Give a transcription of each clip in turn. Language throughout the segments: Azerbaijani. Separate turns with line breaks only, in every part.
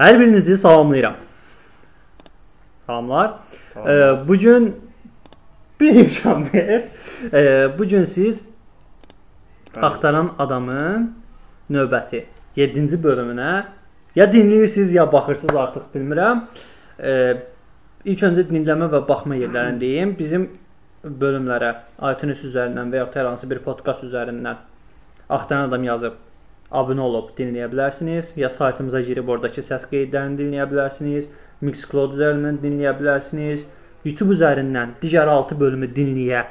Hər birinizi salamlayıram. Salamlar. Ee, bugün benim Şamber. Ee, bugün siz Axtaran Adamın növbəti 7-ci bölümünə ya dinləyirsiniz ya baxırsınız artıq bilmirəm. Ee, ilk öncə dinləmə və baxma yerlərini deyim. Bizim bölümlərə iTunes üzərindən və ya hər hansı bir podkast üzərindən Axtaran Adam yazıb abunə olub dinləyə bilərsiniz. Ya saytımıza girib oradakı səs qeydlərini dinləyə bilərsiniz. Mixcloud üzərindən dinləyə bilərsiniz. YouTube üzərindən digər 6 bölümü dinləyə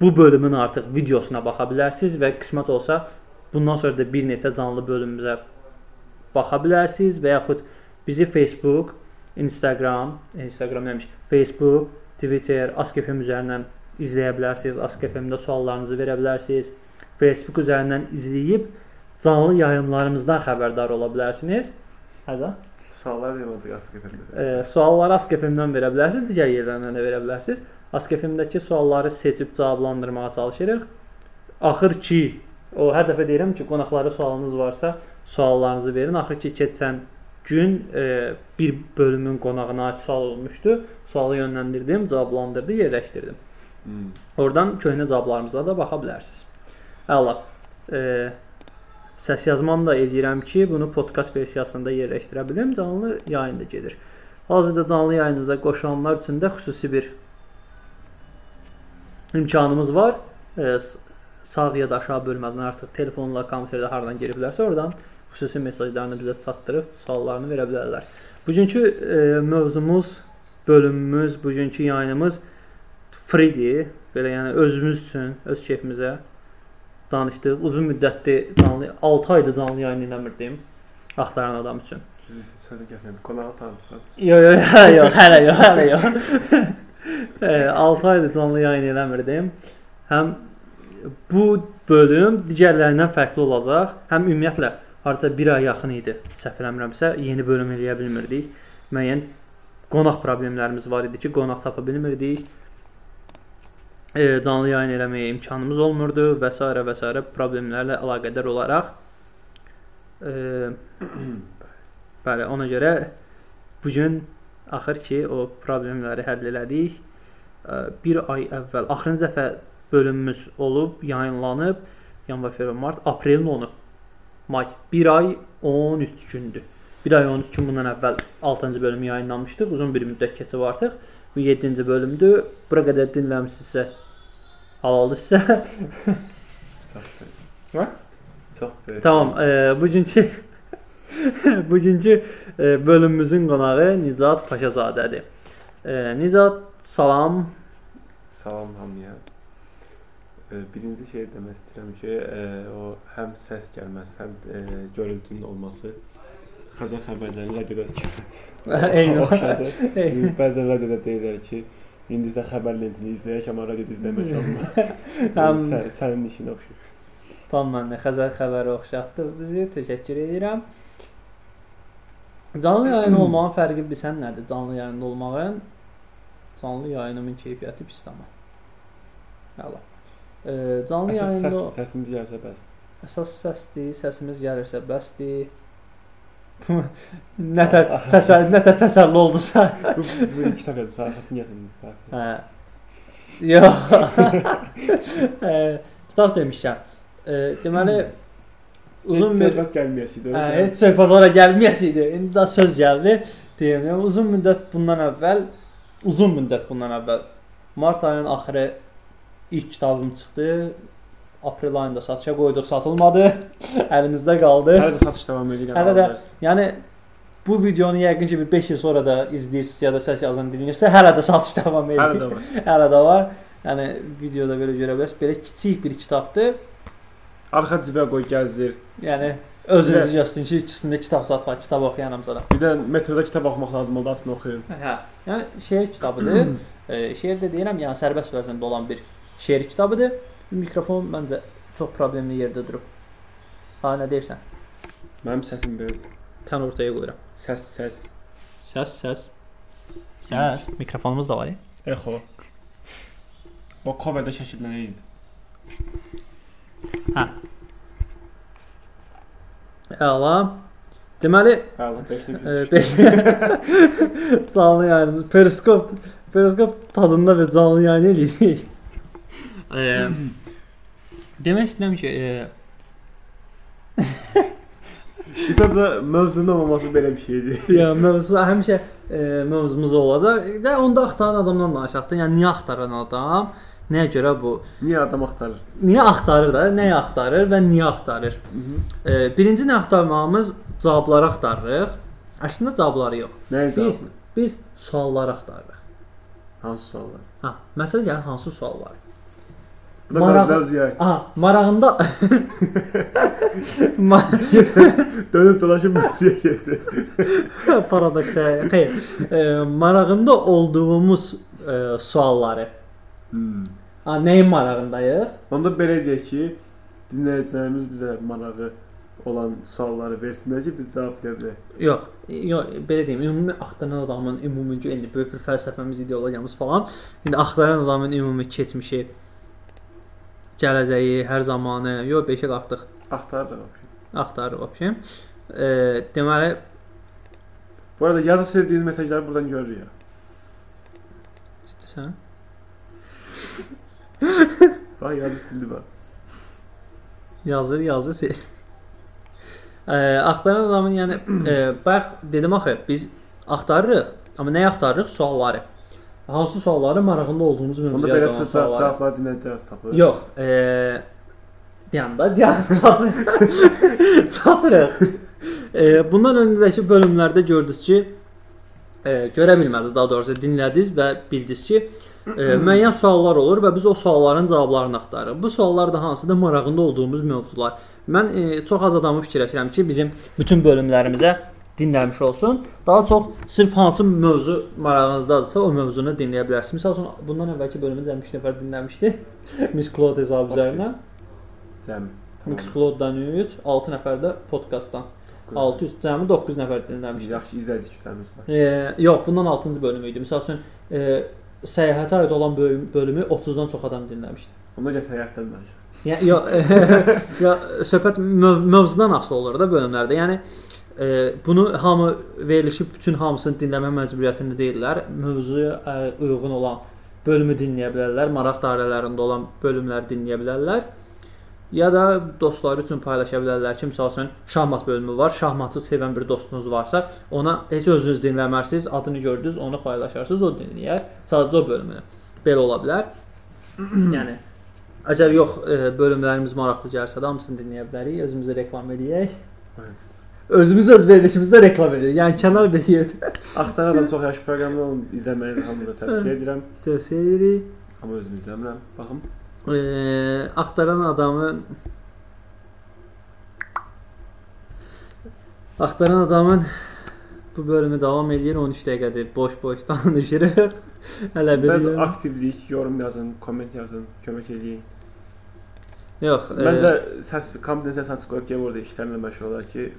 bu bölümün artıq videosuna baxa bilərsiniz və qismət olsa bundan sonra da bir neçə canlı bölümümüzə baxa bilərsiniz və yaxud bizi Facebook, Instagram, e, Instagram demiş, Facebook, Twitter, Askefm üzərindən izləyə bilərsiniz. Askefmdə suallarınızı verə bilərsiniz. Facebook üzərindən izləyib canlı yayımlarımızdan xəbərdar ola bilərsiniz. Hədə.
Suallar yolladı Askefim'de.
E, sualları Askefmdən verə bilərsiniz, digər yerlərdən də verə bilərsiniz. Askefmdəki sualları seçib cavablandırmağa çalışırıq. Axır ki, o hər dəfə deyirəm ki, qonaqlara sualınız varsa, suallarınızı verin. Axır ki, keçən gün e, bir bölümün qonağına aid sual olmuşdu. Sualı yönləndirdim, cavablandırdı, yerləşdirdim.
Hmm.
Oradan köhnə cavablarımıza da baxa bilərsiniz. Əla. E, səs yazmanı da eləyirəm ki, bunu podkast versiyasında yerləşdirə bilim. Canlı yayın da gedir. Hazırda canlı yayınımıza qoşulanlar üçün də xüsusi bir imkanımız var. E, s- sağ ya da aşağı bölmədən artıq telefonla, kompüterdə hardan giriblərsə, oradan xüsusi mesajlarını bizə çatdırıb suallarını verə bilərlər. Bugünkü e, mövzumuz, bölümümüz, bugünkü yayınımız freedir. Belə yəni özümüz üçün, öz keyfimizə danışdıq. Uzun müddətdir canlı 6 aydır canlı yayın eləmirdim axtaran adam üçün.
Biz işte söyle gelmedi. Konağı tanıtsan.
Yo yo hələ yo, hələ yo, hələ yo. 6 aydır canlı yayın eləmirdim. Həm bu bölüm digərlərindən fərqli olacaq. Həm ümumiyyətlə harca 1 ay yaxın idi. Səhv eləmirəmsə yeni bölüm eləyə bilmirdik. Müəyyən qonaq problemlərimiz var idi ki, qonaq tapa bilmirdik. E, canlı yayın eləməyə imkanımız olmurdu və s. və s. problemlərlə əlaqədar olaraq e, bəli, ona görə Bu gün axır ki o problemləri həll elədik. Ə, Bir ay əvvəl axırıncı dəfə bölümümüz olub, yayınlanıb. Yanvar, fevral, mart, aprelin 10-u. May. 1 ay 13 gündür. 1 ay 13 gün bundan əvvəl 6-cı bölümü yayınlamışdıq. Uzun bir müddət keçib artıq. Bu 7-ci bölümdür. Bura qədər dinləmisinizsə, halallıqsa,
Çok be.
Ha?
Çok be.
Tamam, e, bugünkü bugünkü e, bölümümüzün qonağı Nicat Paşazadədir. E, Nicat, salam.
Salam hamıya. Ee, Birinci şey demək istəyirəm ki, e, o həm səs gəlməsi, həm e, görüntünün olması Xəzər xəbərlərini rədioda
Eyni.
oxşadı.
Eyni.
Bəzən rədioda deyirlər ki, indi sən xəbər lentini izləyək, amma radioda izləmək olmaz.
Həm-
Həm... Sən, sənin işinə oxşayır.
Tam məndə Xəzər xəbəri oxşatdı bizi. Təşəkkür edirəm. Canlı yayın olmağın fərqi bilsən nədir? Canlı yayında olmağın canlı yayınımın keyfiyyəti pis amma. Əla. E, canlı
Əsas
yayında
səs, səsimiz gəlsə bəs.
Əsas səsdir, səsimiz gəlirsə bəsdir. nə tə təsəlli, nə tə təsəlli oldusa.
Bu, bu kitab yazdım, sən səsini gətirdim.
Hə. Yox. Ə, Kitab demişəm. Ə, Deməli uzun bir
söhbət gəlməyəsidir.
Hə, heç söhbət ora gəlməyəsiydi. İndi də söz gəldi. Deyim, yəni uzun müddət bundan əvvəl, uzun müddət bundan əvvəl mart ayının axırı ilk kitabım çıxdı. Aprel ayında satışa qoyduq, satılmadı. Əlimizdə qaldı.
Hələ də satış davam edir. yəni,
Hələ də-
alırız.
Yəni bu videonu yəqin ki bir 5 il sonra da izləyirsiniz ya da səs yazan dinləyirsə, hələ də satış davam edir.
Hələ də var.
Hələ də var. Yəni videoda belə görə bilərsiniz, belə kiçik bir kitabdır.
Arxa cibə qoy gəzdir.
Yəni özünüz
Bəli.
yazsın ki, içində kitab satma, kitab oxuyanam sonra.
Bir də metroda kitab oxumaq lazım oldu, açın oxuyun.
Hə. Yəni şeir kitabıdır. e, şeir də deyirəm, yəni sərbəst vəznində olan bir şeir kitabıdır. Mikrofon məncə çox problemli yerdə durub. Ha, nə deyirsən?
Mənim səsim biraz
Tən ortaya qoyuram.
səs səs
Səs, səs. Səs, mikrofonumuz da var. Ya.
echo. O coverdə şəkillənir idi.
Əla. Deməli,
Hə, 5
Ee, be- canlı yayın periskop periskop tadında bir canlı yayın eləyirik. Eee E, Demək istəyirəm ki, e, eee
Qısaca mövzunun olmaması belə bir şeydir.
ya mövzu həmişə eee mövzumuz olacaq. Də onda axtaran adamdan danışaqda, yəni niyə axtaran adam, nəyə görə bu?
Niyə adam axtarır?
Niyə axtarır da, nəyə axtarır və niyə axtarır? Eee birinci nə axtarmağımız cavabları axtarırıq. Əslində cavabları yox.
Nəyin
Biz,
cavabını?
biz sualları axtarırıq.
Hansı suallar?
Ha, məsələ yəni hansı suallar?
Bu da
Maraq-
Maraq... mövzuya.
Aha, marağında Ma-
Dönüb dolaşıb mövzuya getdi.
paradoks ə, xeyr. E, marağında olduğumuz e, sualları.
Hmm.
Ha, nəyin marağındayıq?
Onda belə deyək ki, dinləyicilərimiz bizə marağı olan sualları versinlər ki, biz cavab verə bilək.
Yox, yox, belə deyim, ümumi axtaran adamın ümumi indi böyük bir fəlsəfəmiz, ideologiyamız falan. İndi axtaran adamın ümumi keçmişi, gələcəyi, hər zamanı, yox, beşə qalxdıq.
Axtarırıq.
Axtarırıq vəbşim. E, deməli,
Bu arada yazı sevdiyiniz mesajları buradan görürük ya.
istəsən
Bax yazı sildi bax.
Yazır, yazır. se- Ə, axtaran adamın, yəni ə, bax dedim axı biz axtarırıq, amma nəyi axtarırıq? Sualları. Hansı sualları marağında olduğumuz
Onda
mövzuya
belə
dair
sözlər
sualları.
cavablar dinləyicilər tapır.
Yox, ə, deyəndə deyən çatır. çatırıq. Ə, bundan öncəki bölümlərdə gördünüz ki, ə, görə bilmədiniz, daha doğrusu dinlədiniz və bildiniz ki, ə, müəyyən suallar olur və biz o sualların cavablarını axtarırıq. Bu suallar da hansıda marağında olduğumuz mövzular. Mən e, çox az adamı fikirləşirəm ki, bizim bütün bölümlərimizə dinləmiş olsun. Daha çox sırf hansı mövzu marağınızdadırsa o mövzunu dinləyə bilərsiniz. Məsəl üçün bundan əvvəlki bölümü cəmi 3 nəfər dinləmişdi. Miss Cloud hesabı
Okey.
üzərindən.
Cəmi.
Miss Cloud-dan 3, 6 nəfər də podkastdan. 600 cəmi 9 nəfər dinləmişdi.
Yaxşı izləyici kütləmiz var.
E, yox, bundan 6-cı bölümü idi. Məsəl üçün e, səyahətə aid olan bölüm, bölümü 30-dan çox adam dinləmişdi.
Onda gəl səyahətdən danışaq.
Ya, ya, ya söhbət möv mövzudan asılı olur da bölümlərdə. Yəni e, bunu hamı verilişi bütün hamısını dinləmə məcburiyyətində deyillər. Mövzuya e, uyğun olan bölümü dinləyə bilərlər, maraq dairələrində olan bölümləri dinləyə bilərlər. Ya da dostları üçün paylaşa bilərlər ki, məsəl üçün şahmat bölümü var. Şahmatı sevən bir dostunuz varsa, ona heç özünüz dinləmərsiniz, adını gördünüz, onu paylaşarsınız, o dinləyər. Sadəcə o bölümünü. Belə ola bilər. yəni Əgər yox e, bölümlərimiz maraqlı gəlsə də hamısını dinləyə bilərik, özümüzə reklam eləyək. Özümüz öz verilişimizdə reklam edirik. Yəni kənar bir yerdə
Axtaran da çox yaxşı proqramlar olun. İzləməyi hamınıza tövsiyə edirəm.
tövsiyə edirik.
Amma özüm izləmirəm. Baxım.
E, axtaran adamı Axtaran adamın bu bölümü davam eləyir 13 dəqiqədir. Boş-boş danışırıq. Hələ bir
Bəzi
yer-
aktivlik, yorum yazın, komment yazın, kömək eləyin.
yox. e,
Məncə səs kompaniya səs açıq qoyub ki, orada işlərlə məşğul olar ki,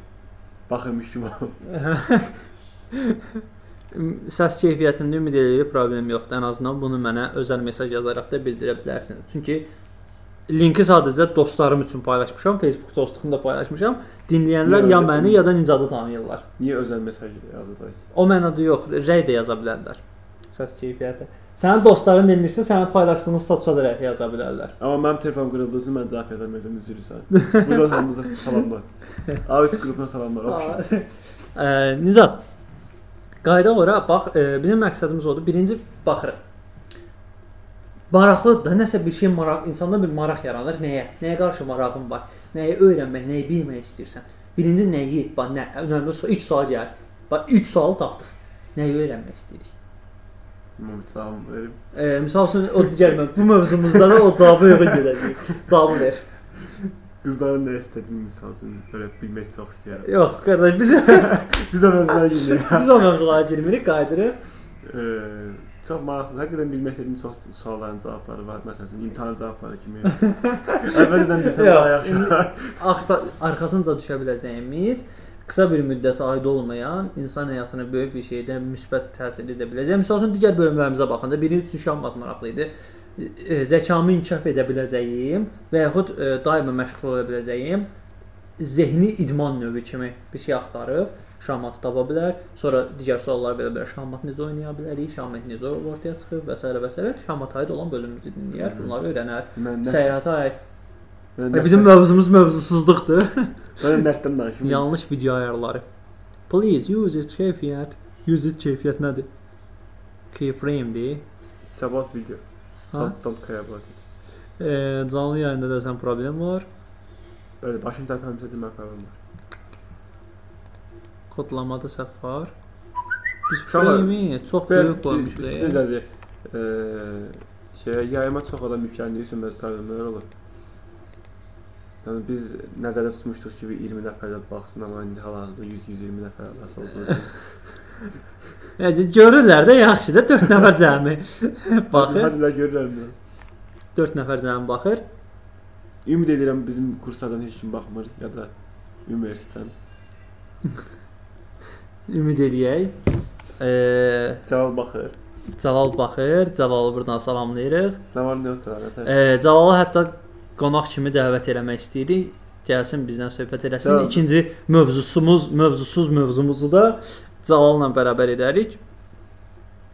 baxırmış kimi olun.
səs keyfiyyətində ümid edirəm problem yoxdur. Ən azından bunu mənə özəl mesaj yazaraq da bildirə bilərsiniz. Çünki linki sadəcə dostlarım üçün paylaşmışam, Facebook dostluğumda paylaşmışam. Dinləyənlər
Niyə
ya
özəl-
məni ya da Nicadı tanıyırlar.
Niyə özəl mesaj yazırlar ki?
O mənada yox, rəy də yaza bilərlər. Səs keyfiyyəti. Sənin dostların dinlirsə, sənin paylaşdığın statusa da rəy yaza bilərlər.
Amma mənim telefonum qırıldıysa mən cavab yazamazam, üzülürsən. Buradan hamımıza salamlar. A3 qrupuna salamlar.
Aa,
Oxşar.
Ə, Nizam. Qayda ora bax, ə, bizim məqsədimiz odur. Birinci baxırıq. Maraqlıdır da, nəsə bir şey maraq, insanda bir maraq yaranır. Nəyə? Nəyə qarşı marağın var? Nəyi öyrənmək, nəyi bilmək istəyirsən? Birinci nəyi? Bax, nə? Önəmli sual, ilk sual gəlir. Bax, ilk sualı tapdıq. Nəyi öyrənmək istəyirik?
Mümkün salam verim.
Ə, misal üçün o digərmə bu mövzumuzda da o cavabı uyğun gələcək. Cavabı ver.
Qızların nə istədiyini misal üçün belə bilmək çox istəyirəm.
Yox, qardaş, biz
Biz o mövzulara girdik.
biz o mövzulara girmirik, qayıdırıq.
Eee, çox maraqlı. Həqiqətən bilmək istədiyim çox sualların cavabları var. Məsələn, imtahan cavabları kimi. Əvvəldən bilsəm daha
Yox,
yaxşı.
axta arxasınca düşə biləcəyimiz qısa bir müddətə aid olmayan insan həyatına böyük bir şeydə müsbət təsir edə biləcək. Məsəl üçün digər bölümlərimizə baxanda biri üçün şahmat maraqlı idi. E, Zəkamı inkişaf edə biləcəyim və yaxud e, daima məşğul ola biləcəyim zehni idman növü kimi bir şey axtarıb şahmatı tapa bilər. Sonra digər suallar belə-belə şahmat necə oynaya bilərik, şahmat necə ortaya çıxıb və s. və s. Şahmata aid olan bölümümüzü dinləyər, bunları öyrənər.
Məndən-
Səyyahata aid.
Mən
Və Bizim mövzumuz mövzusuzluqdur.
Mən nərddən danışım.
Yanlış video ayarları. Please use it keyfiyyət. Use it keyfiyyət nədir? Keyframe-dir.
It's about video.
Ha?
Don't, don't care about it.
E, canlı yayında desən problem var.
Bəli, başım tərpənmişsə demək problem var.
Kodlamada səhv var. Biz
Uşaqlar,
frame-i çox
Biraz
böyük qoymuşuq.
siz
e.
necədir? Eee, şey, yayıma çox adam yükləndiyisə bəzi problemlər olur. Yəni biz nəzərdə tutmuşduq ki, bir 20 nəfərlə baxsın, amma indi hal-hazırda 100-120 nəfər arası olduğu üçün.
Yəni görürlər də yaxşı da 4 nəfər cəmi baxır.
Hadi də görürəm bunu.
4 nəfər cəmi baxır.
Ümid edirəm bizim kursadan heç kim baxmır ya da universitetdən.
Ümid eləyək. Eee,
Cavab baxır.
Cəlal baxır. Cəlalı buradan salamlayırıq.
Nə var nə yoxdur arada?
Eee, Cəlalı hətta qonaq kimi dəvət eləmək istəyirik. Gəlsin bizdən söhbət eləsin.
Cəlal-
İkinci mövzusumuz, mövzusuz mövzumuzu da Cəlalla bərabər edərik.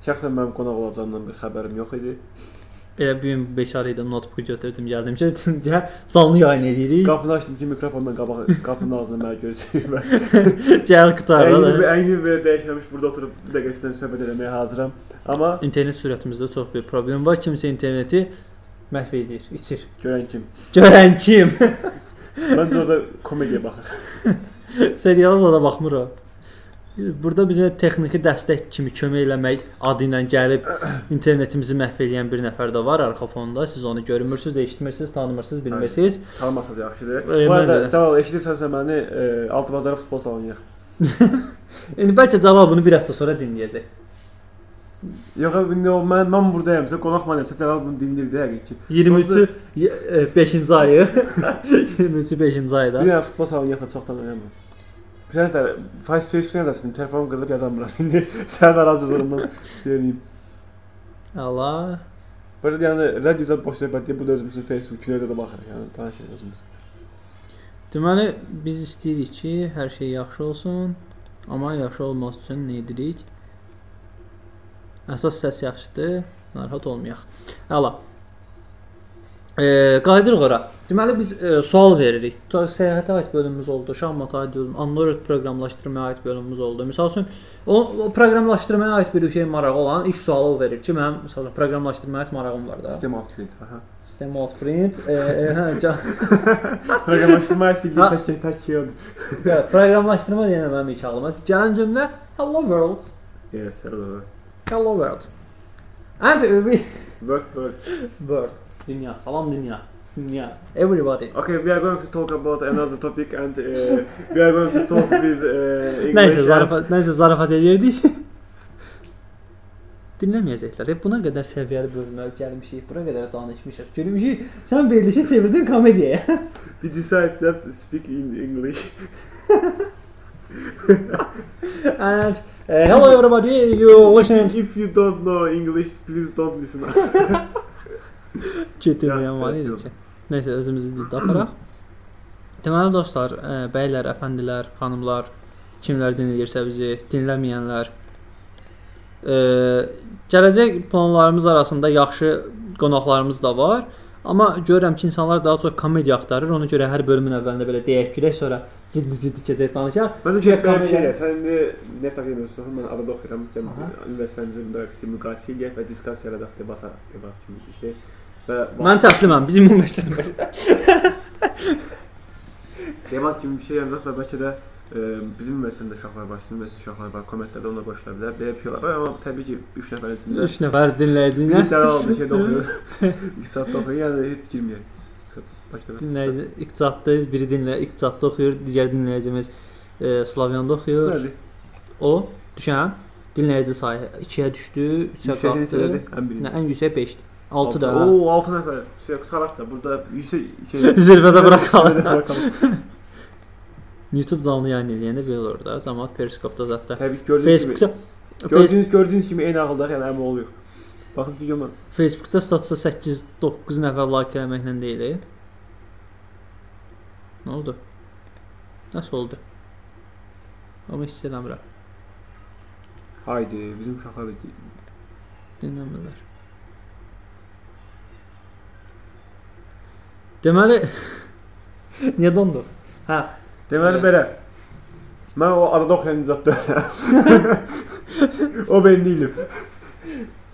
Şəxsən mənim qonaq olacağımdan bir xəbərim yox idi.
Elə bu gün bekar idim, notebook götürdüm, gəldim ki, gəl, canlı yayın edirik.
Qapını açdım ki, mikrofondan qabaq qapının ağzına mənə gözləyir.
Gəl
Əynimi,
qutarla.
əynimi belə dəyişməmiş burada oturub bir dəqiqə sizlə söhbət etməyə hazıram. Amma
İnternet sürətimizdə çox böyük problem var. Kimsə interneti məhv edir, içir.
görən kim?
Görən kim?
Məncə orada komediya baxır.
Seriala zada baxmır o. Burada bizə texniki dəstək kimi kömək eləmək adı ilə gəlib internetimizi məhv edən bir nəfər də var arxa fonda. Siz onu görmürsüz, eşitmirsiniz, tanımırsınız, bilmirsiniz.
Tanımasaz yaxşıdır.
E,
Bu arada
məncə də.
Cəlal eşidirsənsə məni e, altı bazarı futbol salonuna yığ.
İndi bəlkə Cəlal bunu bir həftə sonra dinləyəcək.
Yox, abi, indi o mən mən buradayamsa, qonaq mənimsə Cəlal bunu dinləyir də həqiqi.
23-cü
Dostlar,
5-ci e, ayı. 23-cü 5-ci ayda.
Bir dənə futbol salonuna yığsa çoxdan öyrənmə. Bir dənə də Face Facebook yazasın, telefon qırılıb yazamıram indi. Sənin aracılığından söyləyim.
Allah.
Belə yəni radioda boş söhbət deyə bu da özümüzün Facebook külədə də baxırıq, yəni danışırıq özümüz.
Deməli biz istəyirik ki, hər şey yaxşı olsun. Amma yaxşı olması üçün nə edirik? Əsas səs yaxşıdır, narahat olmayaq. Əla. E, qayıdırıq ora. Deməli biz e, sual veririk. Ta- Səyahətə aid bölümümüz oldu, şahmata aid bölüm, Android proqramlaşdırmaya aid bölümümüz oldu. Məsəl üçün o, o proqramlaşdırmaya aid bir şey marağı olan ilk sualı o verir ki, mənim məsələn proqramlaşdırmaya aid marağım var da.
Sistem alt külədə, aha.
Sistem outprint, e, e, hə, can-
Proqramlaşdırma bildiyi
Ha.
tək şey tək şey odur.
Ya, proqramlaşdırma deyəndə mənim ilk ağlıma gələn cümlə hello world,
Yes, hello.
hello world. And every
Work, work.
world, dünya, salam dünya, dünya, everybody.
Okay, we are going to talk about another topic and uh, we are going to talk with uh, English.
Nəysə
and-
zarafat, nəysə zarafat edirdik. Dinləməyəcəklər. Hep buna qədər səviyyəli bölmə gəlmişik, bura qədər danışmışıq. Görmüşük, sən verilişə şey çevirdin komediyaya.
We decide not to speak in English.
And uh, hello everybody, you listen.
If you don't know English, please don't listen us.
Getirməyən
Ya,
var
təsir
idi
oldu.
ki. Nəysə özümüzü ciddi aparaq. Deməli dostlar, ə, bəylər, əfəndilər, xanımlar, kimlər dinləyirsə bizi, dinləməyənlər. Ə, gələcək planlarımız arasında yaxşı qonaqlarımız da var. Amma görürəm ki, insanlar daha çox komediya axtarır. Ona görə hər bölümün əvvəlində belə deyək gülək, sonra ciddi-ciddi keçəcək danışaq.
Mən də
Çünki
çox qəmli
komediya-
şey Sən indi neft akademiyası mən arada oxuyuram. Üniversitenin müdafiəsi müqayisə eləyək və diskas yaradaq debat debat kimi bir şey. Və
Mən təsliməm, bizim universitetimiz.
Demat kimi bir şey yaradaq və bəlkə də e, bizim üniversitədə uşaqlar var, sizin üniversitədə uşaqlar var, kommentlərdə ona qoşula bilər. Belə bir şey var. Amma təbii ki, 3 nəfərin içində
3 nəfər dinləyici ilə.
Bir cəlal bir şey də oxuyur. İqtisad da oxuyur, yəni heç girməyək. Başda
dinləyici iqtisadda biri dinlə iqtisadda oxuyur, digər dinləyicimiz e, Slavyanda oxuyur.
Bəli.
O düşən dinləyici sayı 2-yə düşdü, 3-ə
Yüksək
qalxdı.
hissələri ən
Nə
birinci.
ən yüksək 5-dir. 6 da.
O 6 nəfər. Şey qutaraq da burada şey, yüksək
Zirvədə bıraxalım.
bırakalım.
YouTube canlı yayın eləyəndə belə olur da, cəmaət Periskopda zətdə.
Təbii ki, gördüyünüz kimi.
Facebookda Face-
Gördüyünüz gördüyünüz kimi eyni ağıldaq yəni əmi oluyor. Baxın ki, görmə.
Facebookda statsa 8-9 nəfər like eləməklə deyilik. Nə e. oldu? Nasıl oldu? Ama hiss eləmirəm.
Haydi bizim uşaqlar da ki-
Dinləmirlər. Deməli niyə dondu? Hə,
Deməli
Hə.
belə. Mən o adada oxuyan zat deyiləm. o ben değilim.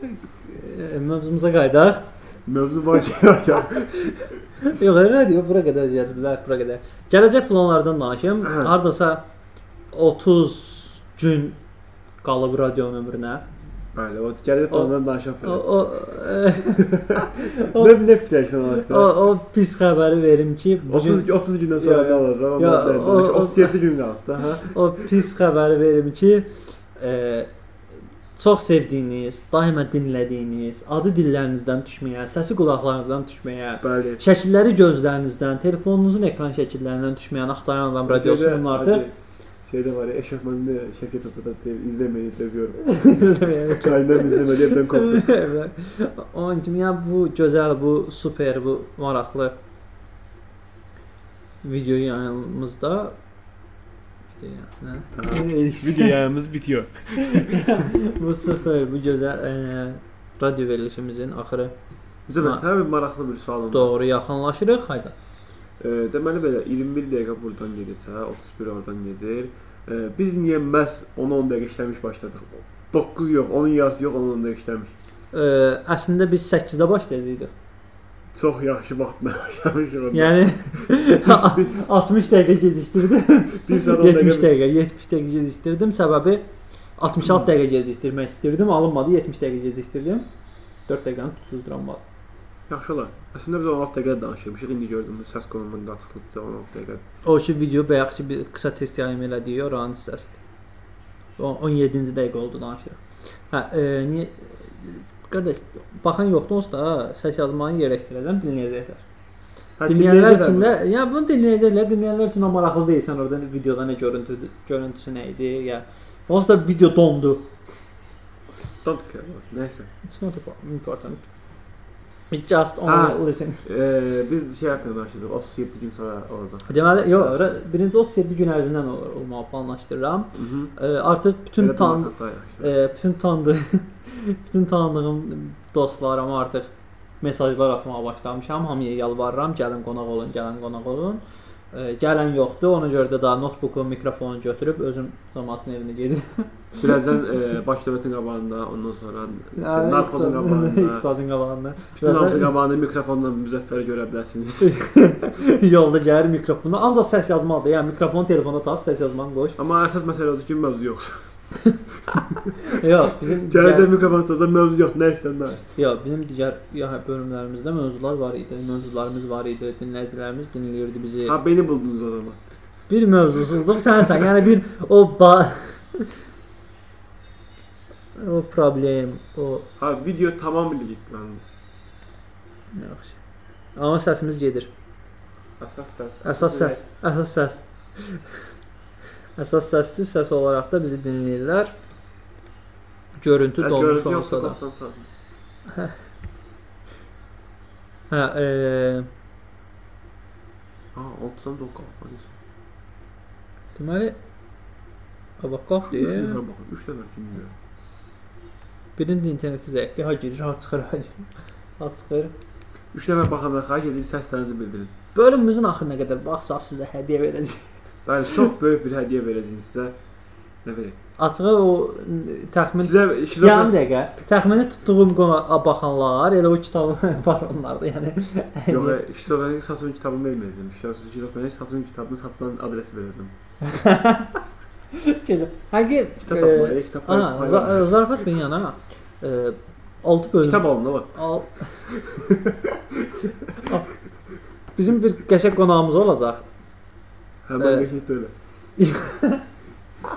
e, mövzumuza qayıdaq.
Mövzu başlıyor ya.
Yox, radio bura qədər gəliblər, bura qədər. Gələcək planlardan danışım.
Hə.
Hardasa 30 gün qalıb radionun ömrünə.
Bəli, o gələcək
O-
ondan danışaq
O,
belə.
o, e,
Ne ne fikirləşsən
o,
onaqda?
o pis xəbəri verim ki, bu gün-
30 30 gündən sonra
Yo, yo.
nə olacaq?
Yo,
Amma
o-
o
o-
37 gün qaldı da, ha.
O pis xəbəri verim ki, e, çox sevdiyiniz, daima dinlədiyiniz, adı dillərinizdən düşməyə, səsi qulaqlarınızdan düşməyə,
Bəli.
şəkilləri gözlərinizdən, telefonunuzun ekran şəkillərindən düşməyən axtaran adam radiosu
Şeydə-
bunlardır.
Şeydə var, ya, eşofmanını Şəvket Atada izləməyi dövüyorum.
Bilmirəm.
Çayından izləməli evdən qopdu.
Onun kimi ya bu gözəl, bu super, bu maraqlı video yayımımızda video yayını-
Video yayımız bitiyor.
bu sıfır, bu gözəl e, radio verilişimizin axırı
Bizə
Ma-
mən sənə bir maraqlı bir sualım var.
doğru yaxınlaşırıq. Hayca.
E, deməli belə 21 dəqiqə buradan gedirsə, 31 oradan gedir. E, biz niyə məhz 10-10 dəqiqə işləmiş başladıq? 9 yox, onun yarısı yox, 10-10 dəqiqə işləmiş.
E, əslində biz 8-də başlayacaqdıq.
Çox yaxşı vaxtla başlamışıq. onda.
Yəni 60 dəqiqə gecikdirdim.
Bir saat 10
70
dəqiqə.
dəqiqə, 70 dəqiqə gecikdirdim. Səbəbi 66 dəqiqə gecikdirmək istirdim, alınmadı. 70 dəqiqə gecikdirdim. 4 dəqiqəni tutuzduram var.
Yaxşı olar. Əslində biz 16 dəqiqə danışmışıq. İndi şey gördüm səs qolundan da çıxılıbdı 16 dəqiqə.
O ki video bayaq ki bir qısa test yayım elədik, oranın səsdir. O 17-ci dəqiqə oldu danışırıq. Hə, e, niyə qardaş baxan yoxdunuz da səs yazmanı yerləşdirəcəm, dinləyəcəklər.
Hə,
Dinləyənlər
dinləyicilər
üçün də
var.
ya bunu dinləyəcəklər, dinləyənlər üçün də maraqlı deyilsən orada videoda nə görüntüdür, görüntüsü nə idi, ya onsuz da video dondu.
Don't care about- Nəysə.
It's not important. It just only
Ha.
listen.
Eee biz şey haqqında danışırdıq. 37 gün sonra olacaq.
Deməli, yox, ra- birinci 37 gün ərzindən olur, olmağı planlaşdırıram.
Mhm.
E, artıq bütün
Elə
tan
danışaq daha yaxşı.
e, bütün tanıdığım bütün tanıdığım dostlarıma artıq mesajlar atmağa başlamışam. Hamıya yalvarıram, gəlin qonaq olun, gəlin qonaq olun. E, gələn yoxdur. Ona görə də daha notebooku, mikrofonu götürüb özüm cəmaətin evinə gedirəm.
Birazdan eee baş dövlətin qabağında, ondan sonra şey,
Yəni,
narkozun qabağında.
iqtisadın qabağında.
Bütün hamısı
Zaten
qabanı mikrofonla müzəffər görə bilərsiniz.
Yolda gəlir mikrofonu. Ancaq səs yazmalıdır. Yəni mikrofonu telefona tax, səs yazmanı qoy.
Amma əsas məsələ odur ki, mövzu yoxdur.
Yox, bizim
Gəlir də mikrofon tutsa mövzu yox, nə istəsən də.
Yox, bizim digər ya bölümlərimizdə mövzular var idi. Mövzularımız var idi. Dinləyicilərimiz dinləyirdi bizi.
Ha beni buldunuz o zaman.
Bir mövzusuzluq sənsən. Yəni bir o ba o problem, o
Ha video tamamıyla gitti lan.
yaxşı. Amma səsimiz gedir.
Əsas səs.
Əsas səs, əsas səs. Əsas səsdir, səs olaraq da bizi dinləyirlər. Görüntü
Hə,
dolmuş
Görüntü yoxsa
olsa da.
qapdan sağ.
Hə, eee
Ha, 30 da qalxan.
deməli Abaqoq
3
deyir.
nəfər baxın, 3 nəfər dinləyir.
Birinin də interneti zəifdir. Ha girir, ha çıxır, ha girir. Ha çıxır.
3 nəfər baxanda xahiş edir səslərinizi bildirin.
Bölümümüzün axırına qədər baxsaq sizə hədiyyə verəcəyik.
Bəli, çox böyük bir hədiyyə verəcəyik sizə. Nə bilim.
Açığı o n- təxmin
Sizə
yarım
şizofren
dəqiqə. Təxmini tutduğum qona baxanlar elə o kitabı var onlarda, yəni.
Yox, e, şizofrenik satın kitabını verməyəcəm. Şizofrenik- Şizofrenik satın kitabını satılan adresi verəcəm.
Həqiqətən. Həqiqət
Kitab
e,
satmalı, kitab
Ana,
pay- pay
za-
var.
e, zarafat bir yana. E, 6 bölüm.
Kitab alın, ola.
Al. Bizim bir qəşəng qonağımız olacaq.
Hemen
Ee,
de hit öyle.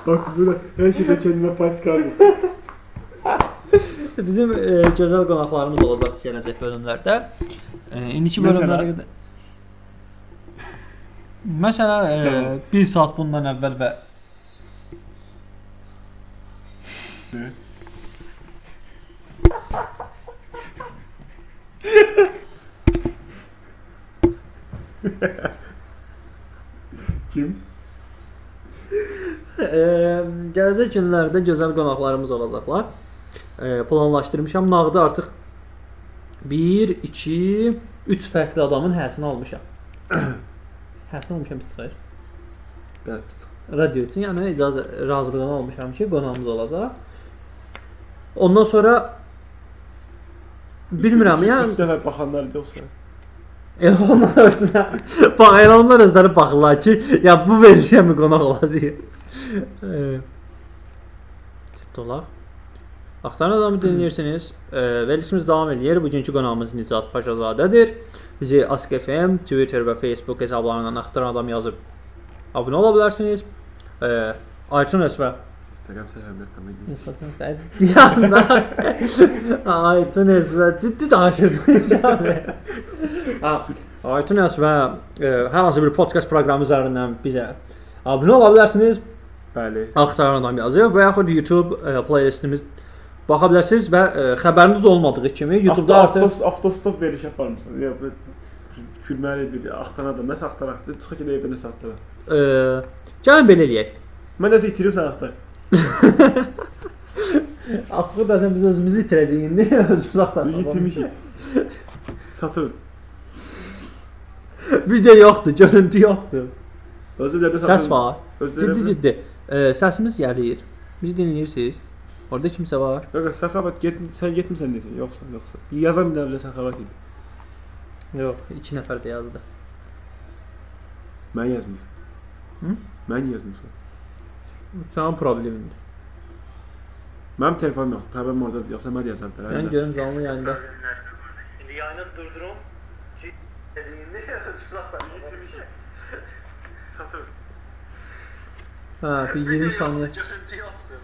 Bak burada her şeyde kendime pay çıkardım.
Bizim e, gözəl qonaqlarımız olacaq gələcək bölümlərdə. E, indiki
Məsələn?
bölümlərə qədər Məsələn, e,
Tamam.
1 saat bundan əvvəl və
Ne? Kim?
Gələcək günlərdə gözəl qonaqlarımız olacaqlar. E, planlaşdırmışam. Nağdı artıq 1, 2, 3 fərqli adamın həsini almışam. həsini almışam pis çıxır.
Bəli, tutaq.
Radio üçün, yəni icazə razılığını almışam ki, qonağımız olacaq. Ondan sonra bilmirəm ya.
Üç dəfə baxanlar yoxsa.
Elə onlar özünə bax, elə onlar özləri baxırlar ki, ya bu verişə mi qonaq olacaq? Çıxdılar. Axtaran adamı dinləyirsiniz. E, Verilişimiz davam edir. Bugünkü qonağımız Nicat Paşazadədir. Bizi AskFM, Twitter və Facebook hesablarından Axtaran adam yazıb abunə ola bilərsiniz. E, iTunes və
Instagram səhifəmdə komedi.
Instagram səhifəsində Ah, iTunes və ciddi danışırdım. Ha, iTunes və e, hər hansı bir podkast proqramı üzərindən bizə abunə ola bilərsiniz.
Bəli.
Axtaran adam yazır və yaxud YouTube e, playlistimiz baxa bilərsiniz və e, xəbəriniz olmadığı kimi
YouTube-da
YouTube-da artıq
avtos avtostop veriş yaparmısan. Ya bu gülməlidir. Axtaran adam nəsə axtaraqdı. Çıxı gedə evdə nəsə axtaraq.
e, gəlin belə eləyək.
Mən nəsə itirim sən axtar.
Açığı bəzən biz özümüzü itirəcəyik indi, özümüz
Biz
axtarırıq.
itirmişik. Satır.
Video yoxdur, görüntü yoxdur.
Özü də bir
Səs var.
Özü
Ciddi
ciddi.
ciddi. E, səsimiz gəlir. Bizi dinləyirsiniz. Orda kimsə var.
Yox, səxavət get, sən getmisən desən, yoxsa, yoxsa. Yazan bir dənə bilə səxavət idi.
Yox, 2 nəfər də yazdı.
Mən yazmıram.
Hı?
Mən yazmışam.
Sənin problemindir.
Mənim telefonum yox, problem ordadır, yoxsa mən də yazardım.
Mən
hə?
görüm canlı yayında.
İndi yayını durdurum. Dediğinde uzaktan getirmişim. Satır.
Ha, bir 20 saniyə.
Görüntü yoktu.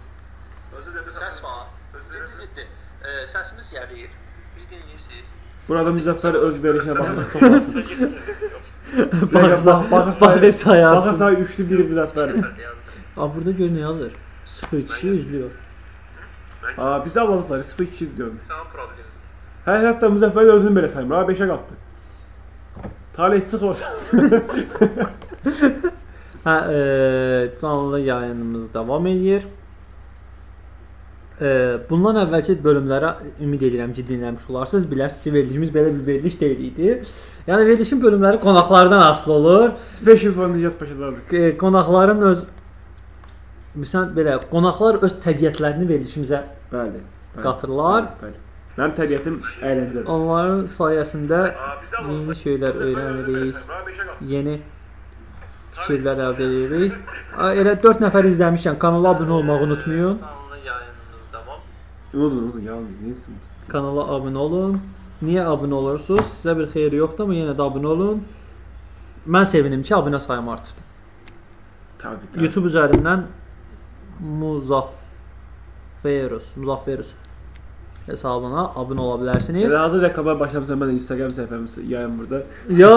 Özü de bir
Səs var. Ciddi ciddi. E, səsimiz gəlir. Biz dinləyirsiniz.
Burada Müzəffər öz verişinə baxır.
Baxırsa, baxırsa yarsın.
Baxırsa üçlü bir Müzəffər.
A, burada gör nə yazır. 02 izliyor.
Aa, biz avladılar 0-2 diyorum.
Tamam problem.
Hə, hətta Müzəffər özünü belə saymır. Ha, 5-ə qalxdı. Talih çıx olsa.
Hə, e, canlı yayınımız davam edir. E, bundan əvvəlki bölümlərə ümid edirəm ki, dinləmiş olarsınız. Bilərsiniz ki, verilişimiz belə bir veriliş deyil idi. Yəni verilişin bölümləri qonaqlardan asılı olur.
Special for Nicat Paşazadə.
E, qonaqların öz Məsələn belə qonaqlar öz təbiətlərini verilişimizə
Bəli. bəli,
Qatırlar.
Bəli. bəli. Mənim təbiətim əyləncədir.
onların sayəsində
Bizi
yeni şeylər öyrənirik.
Ha 5'e kaldı.
yeni fikirlər əldə edirik. A, Elə 4 nəfər izləmişəm. Kanala abunə olmağı unutmayın.
Canlı yayınımız devam.
Unudun, unudun, yalan deyil. Neyse.
Kanala abunə olun. Niyə abunə olursunuz? Sizə bir xeyir yoxdur, amma yenə də abunə olun. Mən sevinim ki, abunə sayım artıbdı.
Tabii, tabii.
YouTube üzərindən Muzafferus, Muzafferus hesabına abunə ola bilərsiniz.
Elə hazır rəqəmə başlamışam mən Instagram səhifəmi yayım burada.
Yo,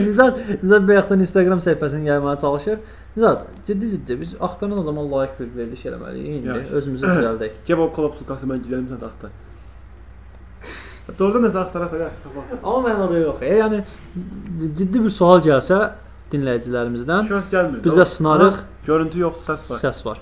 Nizad, Nizad bayaqdan Instagram səhifəsini yaymağa çalışır. Nizad, ciddi-ciddi biz axtaran adama layiq bir veriliş eləməliyik indi.
Yaxşı.
Özümüzü düzəldək.
Gəl o kolab tutqası mən gidelim sən axtar. Doğrudan nəsə axtara axtara axtara.
Amma mənada yox. E, yəni ciddi bir sual gəlsə dinləyicilərimizdən
Şörs gəlmir.
Biz də sınarıq.
Amma Görüntü yoxdur, səs var.
səs var.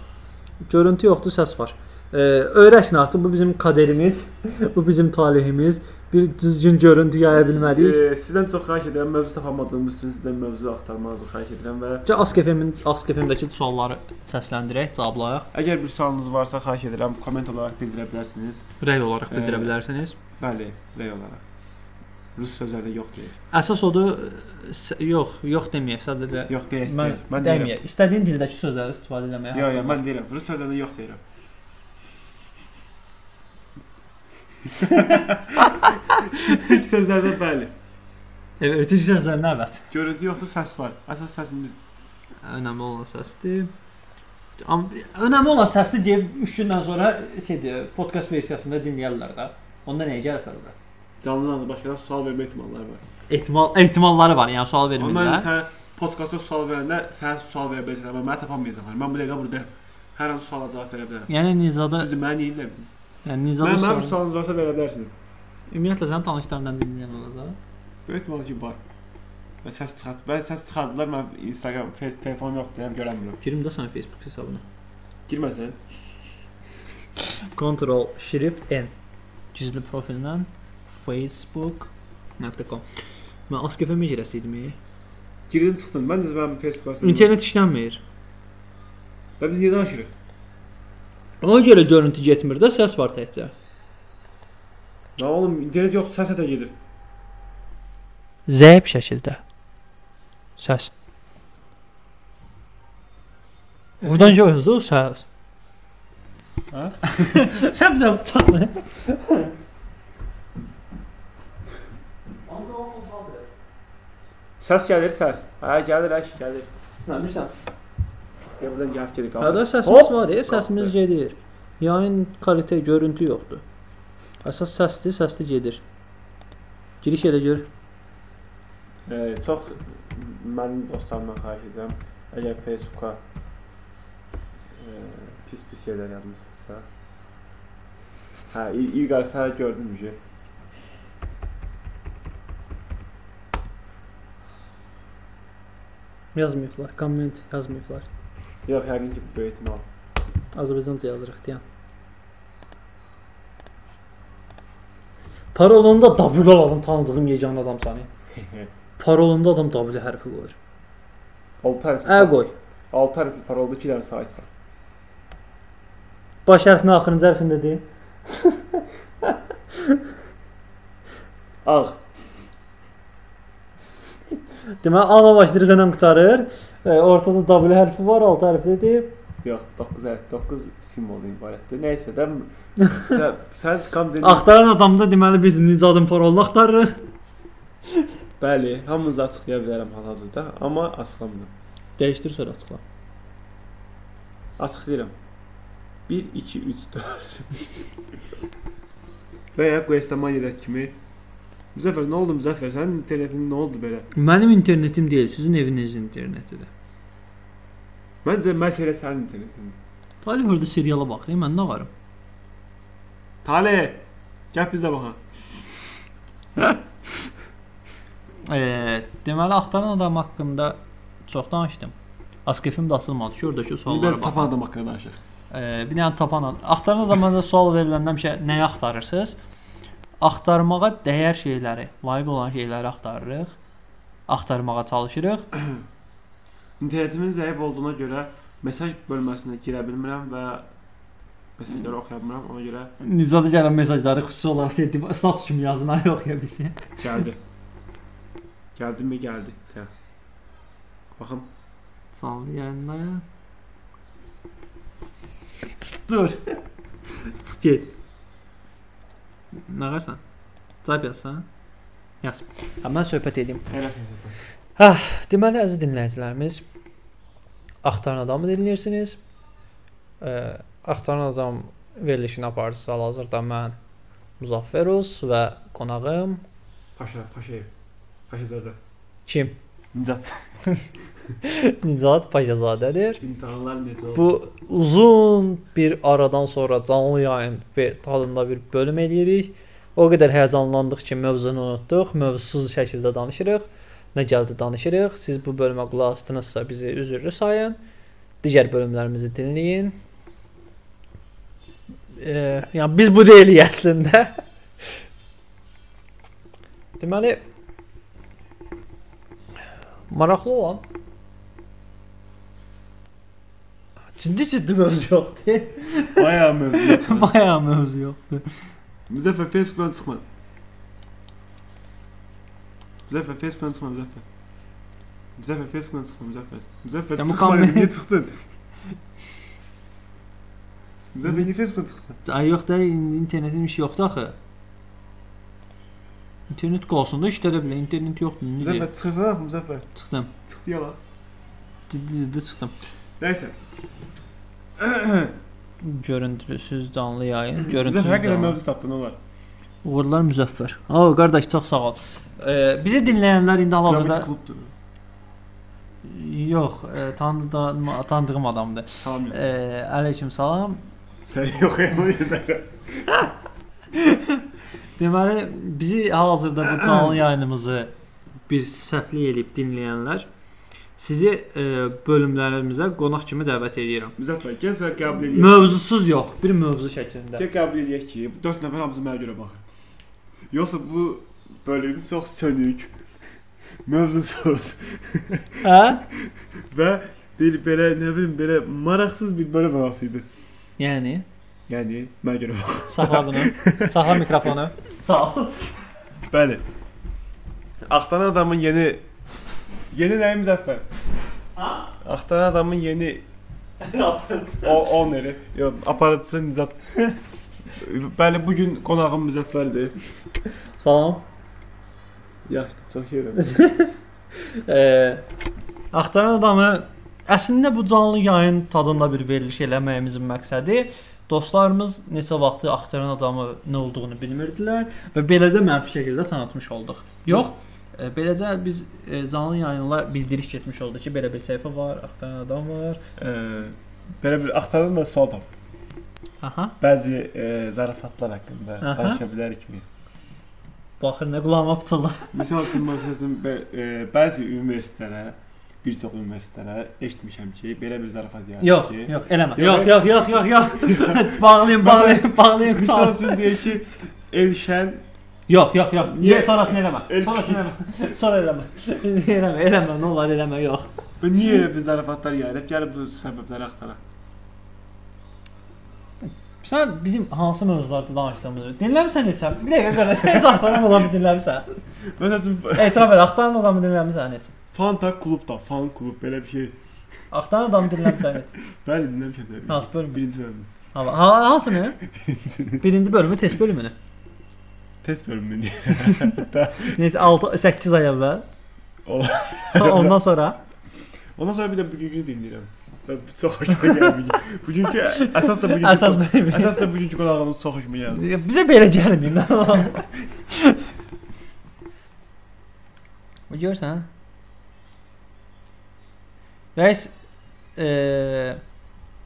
Görüntü yoxdur, səs var. E, öyrəşin artıq bu bizim kaderimiz, bu bizim talehimiz. Bir düzgün görüntü yaya bilmədik.
Eee, sizdən çox xahiş edirəm, mövzu tapa bilmədiyimiz üçün sizdən mövzu axtarmanızı xahiş edirəm və
Gəl Askefemin Askefemdəki sualları səsləndirək, cavablayaq,
əgər bir sualınız varsa xahiş edirəm, komment olaraq bildirə bilərsiniz.
rəy olaraq bildirə
Eee.
bilərsiniz.
Bəli, rəy olaraq. Rus sözlərində yox deyir.
Əsas odur s- yox, yox deməyək, sadəcə
Yox deyək.
mən,
deyək.
mən
deyirəm.
deməyək. İstədiyin dildəki sözləri istifadə etməyə.
Yox, yox, mən deyirəm. Rus sözlərində yox deyirəm. Türk sözlərində bəli.
Evet, ötüş sözlərinə əvət.
Görüntü yoxdur, səs var. Əsas səsimiz.
Önəmli olan səsdir. Am önəmli olan səsdir deyib 3 gündən sonra şeydir, podkast versiyasında dinləyirlər də. Onda nəyə gəlirlər də?
Canlıdan da başqalarına sual vermə ehtimalları var.
Ehtimal ehtimalları var, yəni sual
Ondan
vermirlər.
sən podkastda sual verəndə sənə sual verə biləcəklər, amma məni tapa bilməyəcəklər. Mən bu dəqiqə buradayam. Hər an suala cavab verə bilərəm.
Yəni Nizada,
Düzdür, mən neyin bilərəm?
yəni
Mən
Nizada
mənim
sorun-
sualınız varsa verə bilərsiniz.
ümumiyyətlə sənin tanışlarından dinləyən olacaq.
Böyük ehtimal ki, var. Və səs çıxart. Və səs çıxardılar. Mən Instagram, Facebook, telefonum yoxdur, deyirəm, görəmirəm.
Girim də sənin Facebook hesabına.
Girməsən.
Ctrl Shift N gizli profildən facebook.com. Mən ASCII-ə mi girəsidim?
Girdin çıxdın. Mən də mənim Facebook hesabım.
İnternet işlənmir.
Və biz niyə danışırıq?
Ona görə görüntü getmir də, səs var təkcə.
Lan oğlum internet yoxsa səs ətə gedir.
Zəif şəkildə. Səs. Buradan gördü o səs.
Ha?
Sən də utanma.
Səs gəlir, səs. Hə, gəlir, əş, gəlir.
Nə bilirsən?
Ya buradan gəlib gedir qalxır.
Hədə səsimiz
Hop!
var, e, səsimiz
Qalxdı.
gedir. Yayın kvalitə, görüntü yoxdur. Əsas səsdir, səsli gedir. Giriş elə gör.
Ee, çox mənim dostlarımdan xahiş edirəm. Əgər Facebooka e, pis pis şeylər yazmışsınızsa. Hə, İ- İlqar sənə gördüm şey. ki.
Yazmayıblar, komment yazmayıblar.
Yox, yəqin ki, böyük ehtimal.
Azərbaycanca yazırıq deyən. Parolunda W lazım tanıdığım yeganə adamsan. e. Parolunda adam W hərfi qoyur.
6 hərfli.
Ə qoy.
6 hərfli parolda 2 dənə sayt var.
Baş hərfini axırıncı hərfində deyim.
Ağ.
Deməli ana başlayır qınan qutarır. E, Ortada W hərfi var, alt hərfi deyib.
Yox, 9 hərf, 9 simvol ibarətdir. Nəysə də sən, sən tam dedin.
Axtaran adamda deməli biz Nicadım parolunu axtarırıq.
Bəli, hamınızı açıqlaya bilərəm hal-hazırda, amma açıqlamıram.
Dəyişdir sonra açıqla.
Açıqlayıram. 1 2 3 4 Və ya Questamaniyada kimi Müzəffər, nə oldu Müzəffər? Sənin internetin nə oldu belə?
Mənim internetim deyil, sizin evinizin internetidir.
Məncə məsələ sənin internetindir.
Talih orada seriala baxır, mən nə varım?
Tale, gəl bizə baxaq.
E, deməli axtaran adam haqqında çox danışdım. Askefim də asılmadı ki, oradakı
Biz
suallara baxın.
tapan adam haqqında danışaq.
E, bir dənə tapan adam. Axtaran adama da sual veriləndə həmişə nəyi axtarırsınız? Axtarmağa dəyər şeyləri, layiq olan şeyləri axtarırıq. Axtarmağa çalışırıq.
İnternetimin zəif olduğuna görə mesaj bölməsinə girə bilmirəm və mesajları oxuya bilmirəm. Ona görə
Nizada gələn mesajları xüsusi olaraq dedim, status kimi yazın, ay yox ya bilsin.
Gəldi. Gəldi mi gəldi. Gəl. Baxın.
Canlı yayınlayan. Dur. Çıx get. Nə qarsan? Cavab yazsan? Yaz. Ha, mən söhbət edim.
Elə.
Deməli əziz dinləyicilərimiz, axtaran adamı dinləyirsiniz. Ə, axtaran Eh, adam verilişini aparıcısı hal-hazırda mən Muzafferus və qonağım
Paşa, Paşayev. Paşazadə.
kim?
Nicat.
Nicat Paşazadədir.
İmtahanlar necə oldu?
Bu uzun bir aradan sonra canlı yayın ve tadında bir bölüm eləyirik. O qədər həyecanlandıq ki, mövzunu unutduq. Mövzusuz şəkildə danışırıq. Nə gəldi danışırıq. Siz bu bölümə qulaq asdınızsa bizi üzrlü sayın. Digər bölümlərimizi dinləyin. E, yəni biz bu deyilik əslində. Deməli maraqlı olan ciddi-ciddi mövzu yoxdur.
Bayağı mövzu.
Bayağı mövzu yoxdur.
Müzəffər Facebookdan çıxma. Müzəffər Facebookdan çıxma, Müzəffər. Müzəffər Facebookdan çıxma, Müzəffər. Müzəffər
Ya bu
çıxma,
kamer-
niyə çıxdın? Müzəffər niyə Facebookdan çıxsan?
Ay yox da indi internetin işi yoxdur axı. İnternet qalsın da işlədə bilər. İnternet yoxdur. Necə
Müzəffər çıxırsan axı, Müzəffər.
çıxdım?
Çıxdı yalan.
Ciddi ciddi çıxdım.
Nəysə.
Görüntüsüz canlı yayın.
Müzəffər
Görüntüsüz.
həqiqətən
canlı.
mövzu tapdın, olar.
Uğurlar Müzəffər. Ha qardaş çox sağ ol. Ee, bizi dinləyənlər indi
Rabbit
hal-hazırda
klubdur.
yox, e, tanıdığım, tanıdığım adamdır.
Salam. yox.
Ee, aleyküm salam.
Sən yox eləməyəcəksən.
Deməli, bizi hal-hazırda bu canlı yayınımızı bir səhvlik edib dinləyənlər Sizi e, bölümlərimizə qonaq kimi dəvət edirəm.
Müzəffər, gəl sən qəbul edək.
Mövzusuz yox, bir mövzu şəklində.
Gəl qəbul edək ki, 4 nəfər hamısı mənə görə baxır. Yoxsa bu bölüm çox sönük, mövzusuz
Hə?
və bir belə nə bilim belə maraqsız bir bölüm olası idi.
Yəni
Yəni mənə görə bax.
saxla bunu. saxla mikrofonu. Sağ ol.
Bəli.
Axtaran adamın yeni
Yeni nəyi Müzəffər?
Axtaran adamın yeni
O oneri.
yox, aparatçısı Nizat.
Bəli, bu gün qonağım Müzəffərdir.
Salam.
Yaxşı, çox yerəm.
Eee,
Axtaran adamı əslində bu canlı yayın tadında bir veriliş eləməyimizin məqsədi dostlarımız neçə vaxtı axtaran adamı nə olduğunu bilmirdilər və beləcə mənfi şəkildə tanıtmış olduq. Yox, e, beləcə biz e, canlı yayınla bildiriş getmiş oldu ki, belə bir səhifə var, axtaran adam var.
Belə bir axtarılma sual tap.
Aha.
Bəzi e, zarafatlar haqqında
Aha.
danışa bilərikmi?
Baxır nə qulağıma pıçıldı.
Məsəl üçün, məsəl üçün bə- e, bəzi universitetlərə, bir çox universitetlərə eşitmişəm ki, belə bir zarafat yaranır
Yox,
ki.
yox, eləmə.
Yox,
Yox, yox, yox, yox, yox. bağlayın, bağlayın, bağlayın.
Məsəl üçün deyək ki, Elşən
Yox, yox, yox.
Niyə?
Yox, sonrasını eləmə.
El-
Sonrasını eləmə. Sonra eləmə. eləmə, eləmə, nə olar eləmə, yox.
bu niyə elə bir zarafatlar yaradıb? Gəlib bu səbəbləri axtaraq.
Sən bizim hansı mövzularda danışdığımızı dinləmisən heç sən? Bir dəqiqə qardaş, heç axtaran adamı dinləmirsən?
Məsəl üçün
Etiraf elə, axtaran adamı dinləmirsən heç?
Fanta klub da, fan klub belə bir şey.
Axtaran adamı dinləmirsən heç?
Bəli, dinləmişəm təbii.
Hansı bölümü?
Birinci bölüm.
Ha, ha- hansını? Birinci bölümü, test bölümünü.
Test bölümü.
Necə 6 8 ay əvvəl.
Ola-
Ha, Ondan sonra
Ondan sonra bir də bugünkü dinləyirəm. Və bu çox xoşuma gəldi. Bugünkü əsas da bugünkü
əsas bölümü.
əsas da bugünkü qonağımız çox xoşuma gəldi.
Bizə belə gəlmir. Bu görsən? Rəis e,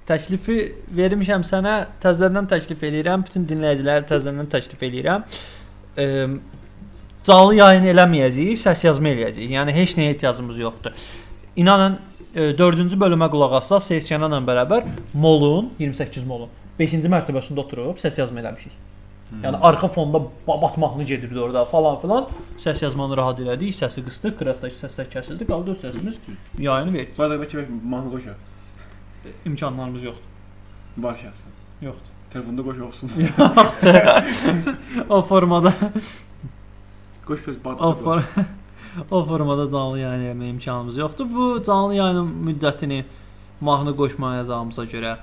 təklifi vermişəm sənə, təzədən təklif eləyirəm, bütün dinləyicilərə təzədən təklif eləyirəm. E, canlı yayın eləməyəcəyik, səs yazma eləyəcəyik. Yəni heç nəyə ehtiyacımız yoxdur. İnanın 4-cü bölümə qulaq assaq, Seyçanla bərabər Molun, 28 Molun 5-ci mərtəbəsində oturub səs yazma eləmişik. Yəni arxa fonda ba- batmaqlı gedirdi orada falan filan. Səs yazmanı rahat elədik, səsi qısdıq, qıraqdakı səslər kəsildi, qaldı o səsimiz yayını verdi.
Sonra da bəlkə bəlkə mahnı qoşaq.
İmkanlarımız yoxdur.
Var şəxsən.
Yoxdur.
Telefonda qoş olsun.
o formada,
qoş biz bağda.
o, for o formada canlı yayın eləmə imkanımız yoxdur. Bu canlı yayının müddətini mahnı qoşmayacağımıza görə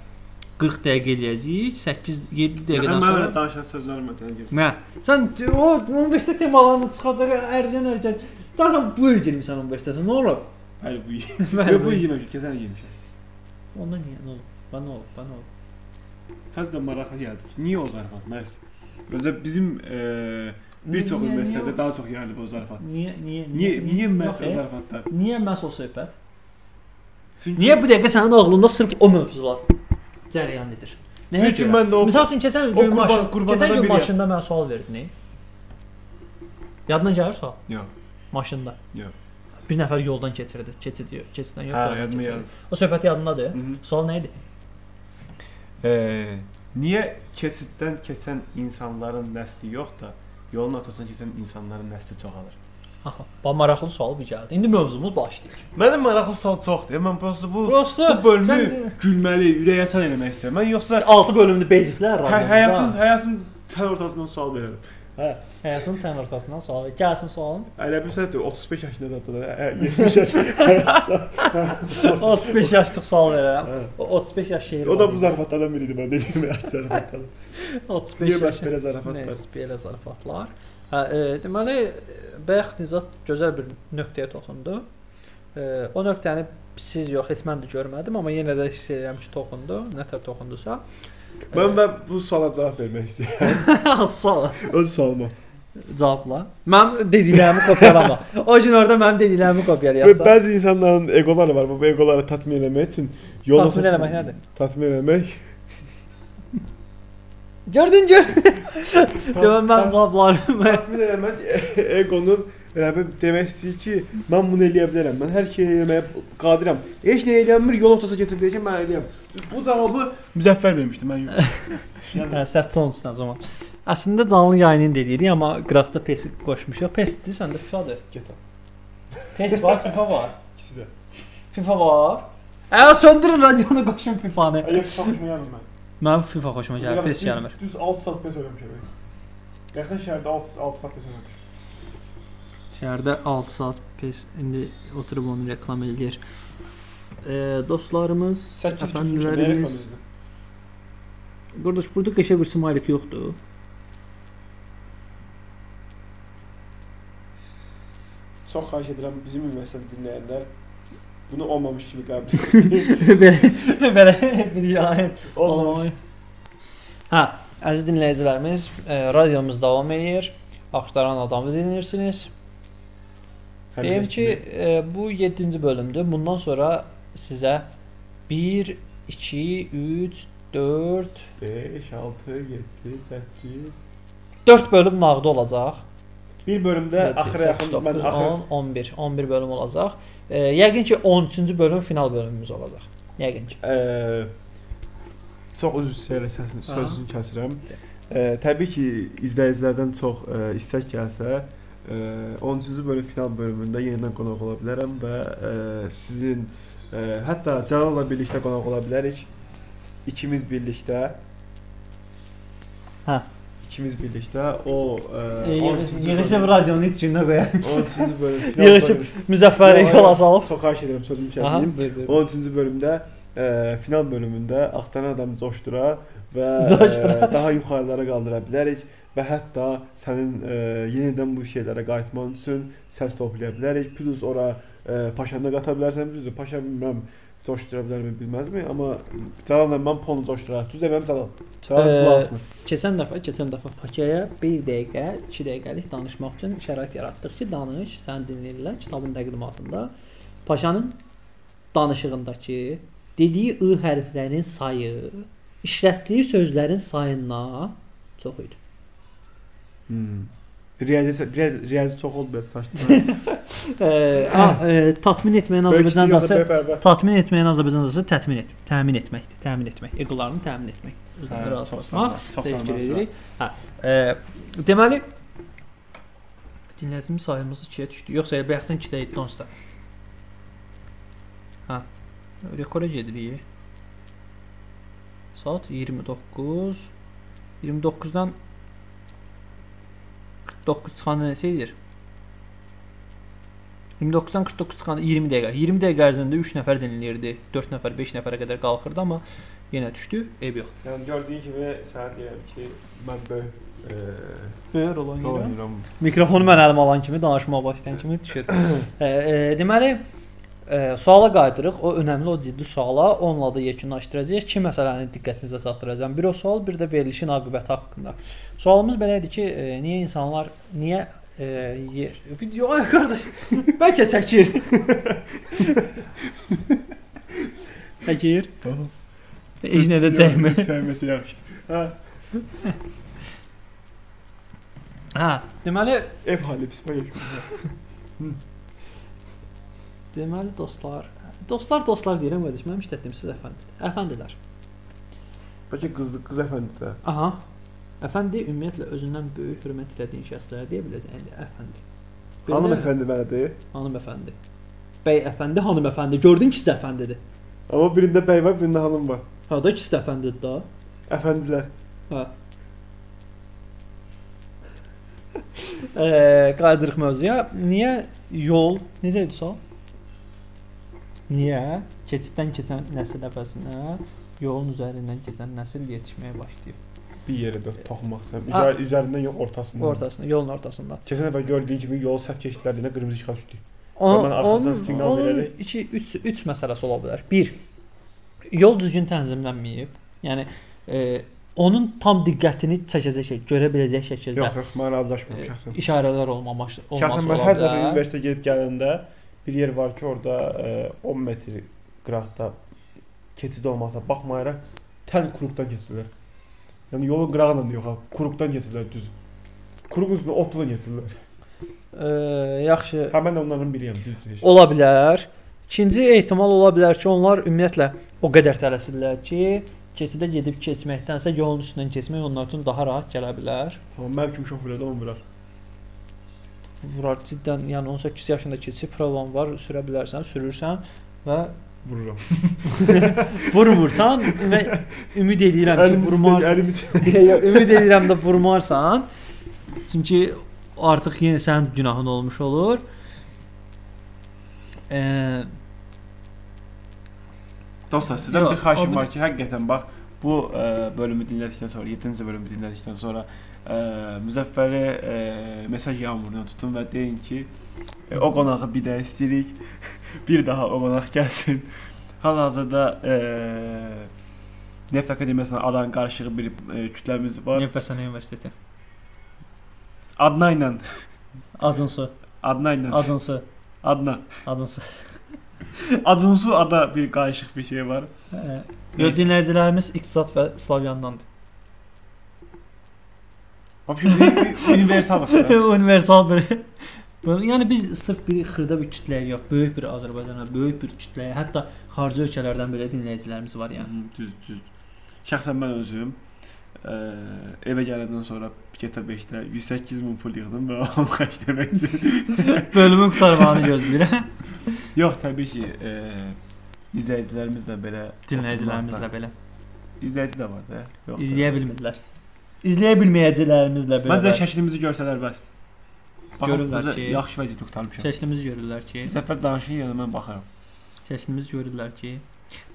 40 dəqiqə eləyəcəyik. 8 7 dəqiqədən
Yaxın mən
sonra
belə danışan söz vermədi. yəni ki,
Nə? Sən o universitet temalarını çıxardır, ərcan ərcan. Daha bu il girmisən universitetə. Nə olub?
Bəli bu.
Bəli,
Yox
bu
bu
il.
yemək, keçən yemişəm.
Onda niyə nə olub? Bana nə olub? Bana nə olub?
Sadəcə maraqlı gəldi. ki, Niyə o zarafat? Məhz. Özə bizim eee, bir çox
Niyə,
məsələdə
niyə?
daha çox yayılıb o zarafat.
Niyə niyə
Niyə niyə məhz o
Yox, e,
zarafatlar?
Niyə məhz o söhbət?
Çünki
Niyə bu dəqiqə sənin ağlında sırf o mövzular cərəyan edir? Nəyə
Çünki
görə?
mən də o-
Məsəl üçün keçən
o
gün
qurban-
maşın,
qurbanlardan
keçən gün
biriyəm.
maşında mənə sual verdin. Yadına gəlir sual?
Yox.
Maşında.
Yox.
Bir nəfər yoldan keçirdi. Keçid yox, keçiddən yox.
Hə,
yoldan
yadıma
keçirdi.
gəldi.
O söhbət yadındadır?
Mhm.
Sual nə idi?
Eee, niyə keçiddən keçən insanların nəsli yox da yolun ortasından keçən insanların nəsli çoxalır?
Aha, bax maraqlı sual bu gəldi. İndi mövzumuz başlayır.
Mənim maraqlı sual çoxdur. Mən prosta bu
Prosta
bu bölümü gülməli, ürəyəçən eləmək istəyirəm. Mən yoxsa
6 bölümlü beziklər
hə, həyatın həyatın tər ortasından sual verirəm. Hə,
həyatın tən ortasından sual. Gəlsin sualın.
elə bilsən də 35 yaşında e, da hə, 70 yaş.
35 yaşlıq sual verərəm.
Hə.
O 35 yaş şeiri.
O da
var.
bu zarafatlardan biridir mən dediyim ya zarafatlar.
35
Niyə
yaş.
bəs belə zarafatlar?
Nəsə, belə zarafatlar. Hə, e, deməli Bəxt Nizat gözəl bir nöqtəyə toxundu. E, o nöqtəni siz yox, heç mən də görmədim, amma yenə də hiss edirəm ki, toxundu. Nətər toxundusa.
Mən və bu suala cavab vermək istəyirəm.
sual
Öz sualıma.
cavabla. Mən dediklərimi kopyalama. O gün orada mənim dediklərimi
Və
kopyalayarsan.
bəzi insanların eqoları var. Bu eqoları tatmin etmək üçün yol
Tatmin
ortasında-
eləmək nədir?
Tatmin etmək.
Gördün gör. Demə mən cavablarımı
e, Tatmin eləmək eqonun
Elə bil demək istəyir ki, mən bunu eləyə bilərəm. Mən hər şeyi eləməyə qadirəm. Heç nə eləyənmir, yol ortası keçir deyir ki, mən eləyəm. Bu cavabı Müzəffər vermişdi, mən yox.
Hə, səhv sonsun o zaman. Əslində canlı yayını deyirik, amma qıraqda pes qoşmuşuq. Pesdir, səndə FIFA-dır.
Get al.
Pes var, FIFA var.
İkisi də.
FIFA var. Ə, söndürün radionu, qoşun FIFA-nı.
Əgər çıxmışmayam mən.
Mənim FIFA xoşuma gəlir, pes gəlmir.
Düz 6 saat pes oynamışam. Qəxtən şəhərdə 6 6 saat pes oynamışam.
Şəhərdə 6 saat pes indi oturub onu reklam eləyir. E, dostlarımız,
8
əfəndilərimiz. Qardaş, burada qəşə bir smalik yoxdur.
Çox xahiş edirəm bizim üniversitədə dinləyənlər bunu olmamış kimi qəbul edin.
belə belə bir yayın.
Olmamış.
Hə, əziz dinləyicilərimiz, e, radiomuz davam eləyir. Axtaran adamı dinləyirsiniz. Deyim ki, e, bu 7-ci bölümdür. Bundan sonra sizə 1 2 3 4
5, 6, 7, 8,
4 bölüm nağdı olacaq.
bir bölümdə axıra yaxın mən
9,
axır
10, 11, 11 bölüm olacaq. E, yəqin ki 13-cü bölüm final bölümümüz olacaq. Yəqin ki.
Eee, çox üzr istəyirəm səsin
Aha.
sözünü kəsirəm. Eee, təbii ki, izləyicilərdən çox eee, istək gəlsə, eee, 13-cü bölüm final bölümündə yenidən qonaq ola bilərəm və eee, sizin eee, hətta Cananla birlikdə qonaq ola bilərik. İkimiz birlikdə.
Hə.
İkimiz birlikdə o
E,
eee, 13-cü
Yığışıb
bölüm-
radionun içində qoyaq.
13-cü bölüm final
Yığışıb
bölümü-
Müzəffər yola salıb.
Çox xahiş edirəm sözümü
Aha,
kəsməyim.
buyur, buyur.
13-cü bölümdə ə, final bölümündə axtaran adam coşdura və
Coşdura.
ə, daha yuxarılara qaldıra bilərik və hətta sənin ə, yenidən bu şeylərə qayıtman üçün səs toplaya bilərik. Plus ora ə, paşanı da qata bilərsən. Düzdür, paşa bilmirəm coşdura bilərmi, bilməzmi, amma Calanla mən ponu coşdura. Düzdür, mənim Calan.
E,
Calan
Ə,
plasmı.
Keçən dəfə, keçən dəfə Pakiyaya 1 dəqiqə, 2 dəqiqəlik danışmaq üçün şərait yaratdıq ki, danış, səni dinləyirlər kitabın təqdimatında. Paşanın danışığındakı dediyi ı hərflərinin sayı işlətdiyi sözlərin sayından çox idi.
Hmm. Riyazi riyazi çox oldu belə taşdı.
Ə, a, ə, tatmin etməyin Azərbaycan dilində
bərabər.
tatmin etməyin Azərbaycan dilində təmin et, təmin etməkdir, təmin etmək, eqlarını təmin etmək. Özünə razı olmaq. təşəkkür edirik. Hə. E, deməli dinləyicimiz sayımız 2-yə düşdü. Yoxsa elə bayaqdan 2-də idi onsuz da. Hə. Rekora gedirik. Saat 29 29-dan 49 çıxanda nəsə edir? 29-dan 49 çıxanda 20 dəqiqə. 20 dəqiqə ərzində 3 nəfər dinləyirdi. 4 nəfər, 5 nəfərə qədər qalxırdı, amma yenə düşdü. Eyb yox.
Yəni gördüyün kimi sənə deyirəm ki, e,
Mən böyük eee,
Ver olan
rol oynayıram.
Mikrofonu mən əlimə alan kimi danışmağa başlayan kimi düşür. e, e, deməli e, suala qayıdırıq. O önəmli, o ciddi suala. Onunla da yekunlaşdıracağıq. İki məsələni diqqətinizə çatdıracağam. Bir o sual, bir də verilişin aqibəti haqqında. Sualımız belə idi ki, e, niyə insanlar niyə e, yer video ay qardaş bəlkə çəkir. çəkir. Heç nə də çəkmir.
Çəkməsi yaxşı.
Hə, deməli
Ev hali pis başa düşmür.
Deməli dostlar, dostlar dostlar deyirəm qardaş, mənim işlətdiyim söz əfəndi. Əfəndilər.
Bəlkə qız qız əfəndi də.
Aha. Əfəndi ümumiyyətlə özündən böyük hörmət etdiyin şəxslərə deyə biləcəyin də əfəndi. Belə deyilmi?
Hanımefendi məlidir.
Hanımefəndi. Bəy əfəndi, hanımefəndi. Gördün ki, əfəndidir.
Amma birində bəy var, birində xanım var.
Ha da ikisi də əfəndidir da.
Əfəndilər.
Hə. Eee, qayıdırıq mövzuya. Niyə yol? Necə idi sual? Niyə keçiddən keçən nəsil əvəzinə yolun üzərindən keçən nəsil yetişməyə başlayıb?
Bir yerə də toxunmaq istəyirəm.
Ha.
Üzər, üzərindən yox, ortasından.
Ortasında, yolun ortasında.
Keçən dəfə gördüyün kimi yol səhv keçidlərində qırmızı işığa düşdü.
Onun
Ondan arxasına
onun,
siqnal
onun
verərək-
2 3 3 məsələsi ola bilər. 1. Yol düzgün tənzimlənməyib. Yəni e, onun tam diqqətini çəkəcək, şey, görə biləcək şəkildə
Yox, yox, mən razılaşmıram
e,
şəxsən.
işarələr olmamış olması
Şəxsən mən
ola
hər dəfə
bilər.
universitetə gedib gələndə bir yer var ki, orada e, 10 metr qıraqda keçid olmasına baxmayaraq tən quruqdan keçirlər. Yəni yolun qırağından yox, ha, quruqdan keçirlər düz. Quruq üstünə otla keçirlər.
Eee, yaxşı.
Hə mən də onların biriyəm, düzdür. heç.
Ola bilər. İkinci ehtimal ola bilər ki, onlar ümumiyyətlə o qədər tələsirlər ki, keçidə gedib keçməkdənsə yolun üstündən keçmək onlar üçün daha rahat gələ bilər.
Amma mənim kimi şoferlərdə onu vurar.
Vurar ciddən, yəni 18 yaşında keçib problem var, sürə bilərsən, sürürsən və
Vururam.
vurmursan və ümid edirəm ki, vurmaz.
Əlimi
Yox, ümid edirəm də vurmarsan. Çünki artıq yenə sənin günahın olmuş olur. Eee,
Dostlar sizdən
Yox,
bir xahişim
o bir-
var ki, həqiqətən bax bu ə, bölümü dinlədikdən sonra, 7-ci bölümü dinlədikdən sonra ə, Müzəffərə ə, mesaj yağmuruna tutun və deyin ki, ə, o qonağı bir də istəyirik. bir daha o qonaq gəlsin. Hal-hazırda ə, Neft Akademiyasına alan qarışıq bir ə, kütləmiz var.
Nefəsən universiteti.
Adna ilə,
Adınsı,
Adna ilə,
adınsı,
Adna.
adınsı.
Adunsu ada bir qarışıq bir şey var.
Eee,
Neyse.
Yox, dinləyicilərimiz iqtisad və slavyandandır.
Vəbşi universalıq.
Universal bir Bunu- Yəni biz sırf bir xırda bir kütləyə yox, böyük bir Azərbaycana, böyük bir kütləyə, hətta xarici ölkələrdən belə dinləyicilərimiz var yəni.
Yəni düz düz. Şəxsən mən özüm ə, evə gələndən sonra Piketə 5-də 108 min pul yığdım və onu xərcləmək üçün.
Bölümün qurtarmağını gözləyirəm.
Yox, təbii ki, ə, izləyicilərimizlə belə
Dinləyicilərimizlə belə.
izləyici də var da. Yox.
İzləyə bilmədilər. İzləyə bilməyəcəklərimizlə belə.
Məncə şəklimizi görsələr bəsdir. Baxın,
Görürlər
özü
ki-
yaxşı vəziyyətdə qurtarmışam.
şəklimiz görürlər ki,
Bir səfər danışın yəni mən baxaram.
şəklimiz görürlər ki,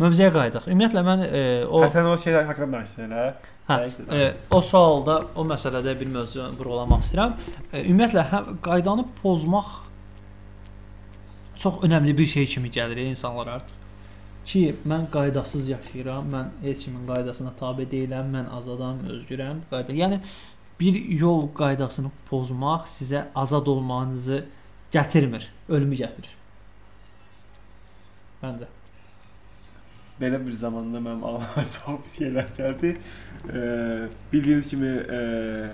mövzuya qayıdaq. Ümumiyyətlə mən e, o
Həsən o şeylər haqqında danışdın elə.
hə, e, o sualda, o məsələdə bir mövzu vurğulamaq istəyirəm. E, ümumiyyətlə hə, qaydanı pozmaq çox önəmli bir şey kimi gəlir insanlara artıq. Ki mən qaydasız yaşayıram, mən heç kimin qaydasına tabe deyiləm, mən azadam, özgürəm. Qayda. Yəni bir yol qaydasını pozmaq sizə azad olmanızı gətirmir, ölümü gətirir. Məncə.
belə bir zamanda mənim ağlıma çox pis şeylər gəldi. E, bildiyiniz kimi e,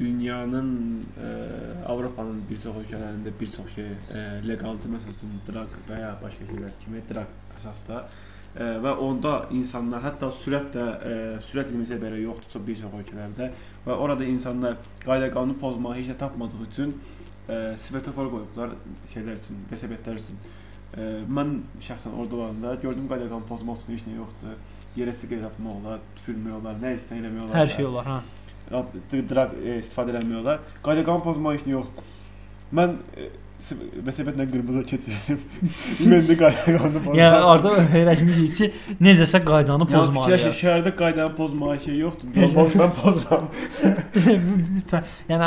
dünyanın e, Avropanın bir çox ölkələrində bir çox şey e, legaldır. Məsələn, drag və ya başqa şeylər kimi drag əsasda e, və onda insanlar hətta sürət də e, sürət limiti belə yoxdur çox bir çox ölkələrdə və orada insanlar qayda qanunu pozmağı heç də tapmadığı üçün e, svetofor qoyublar şeylər üçün, vəsibətlər üçün. Ə, mən şəxsən orada olanda gördüm qaydaqan pozmaq üçün heç nə yoxdur. Yerə siqaret atmaq olar, tüpürmək olar, nə istəyən eləmək olar.
Hər şey olar, hə.
Drag e, istifadə eləmək olar. Qaydaqan pozmaq heç nə yoxdur. Mən e, vəsibətlə qırmızı keçirdim. Mən də qaydaqanı pozmadım.
Yəni orada öyrənmişik ki, necəsə qaydanı
Yəni
pozmalıyıq.
fikirləşin, şəhərdə qaydanı pozmağa şey yoxdur. Mən boş mən pozmam.
yəni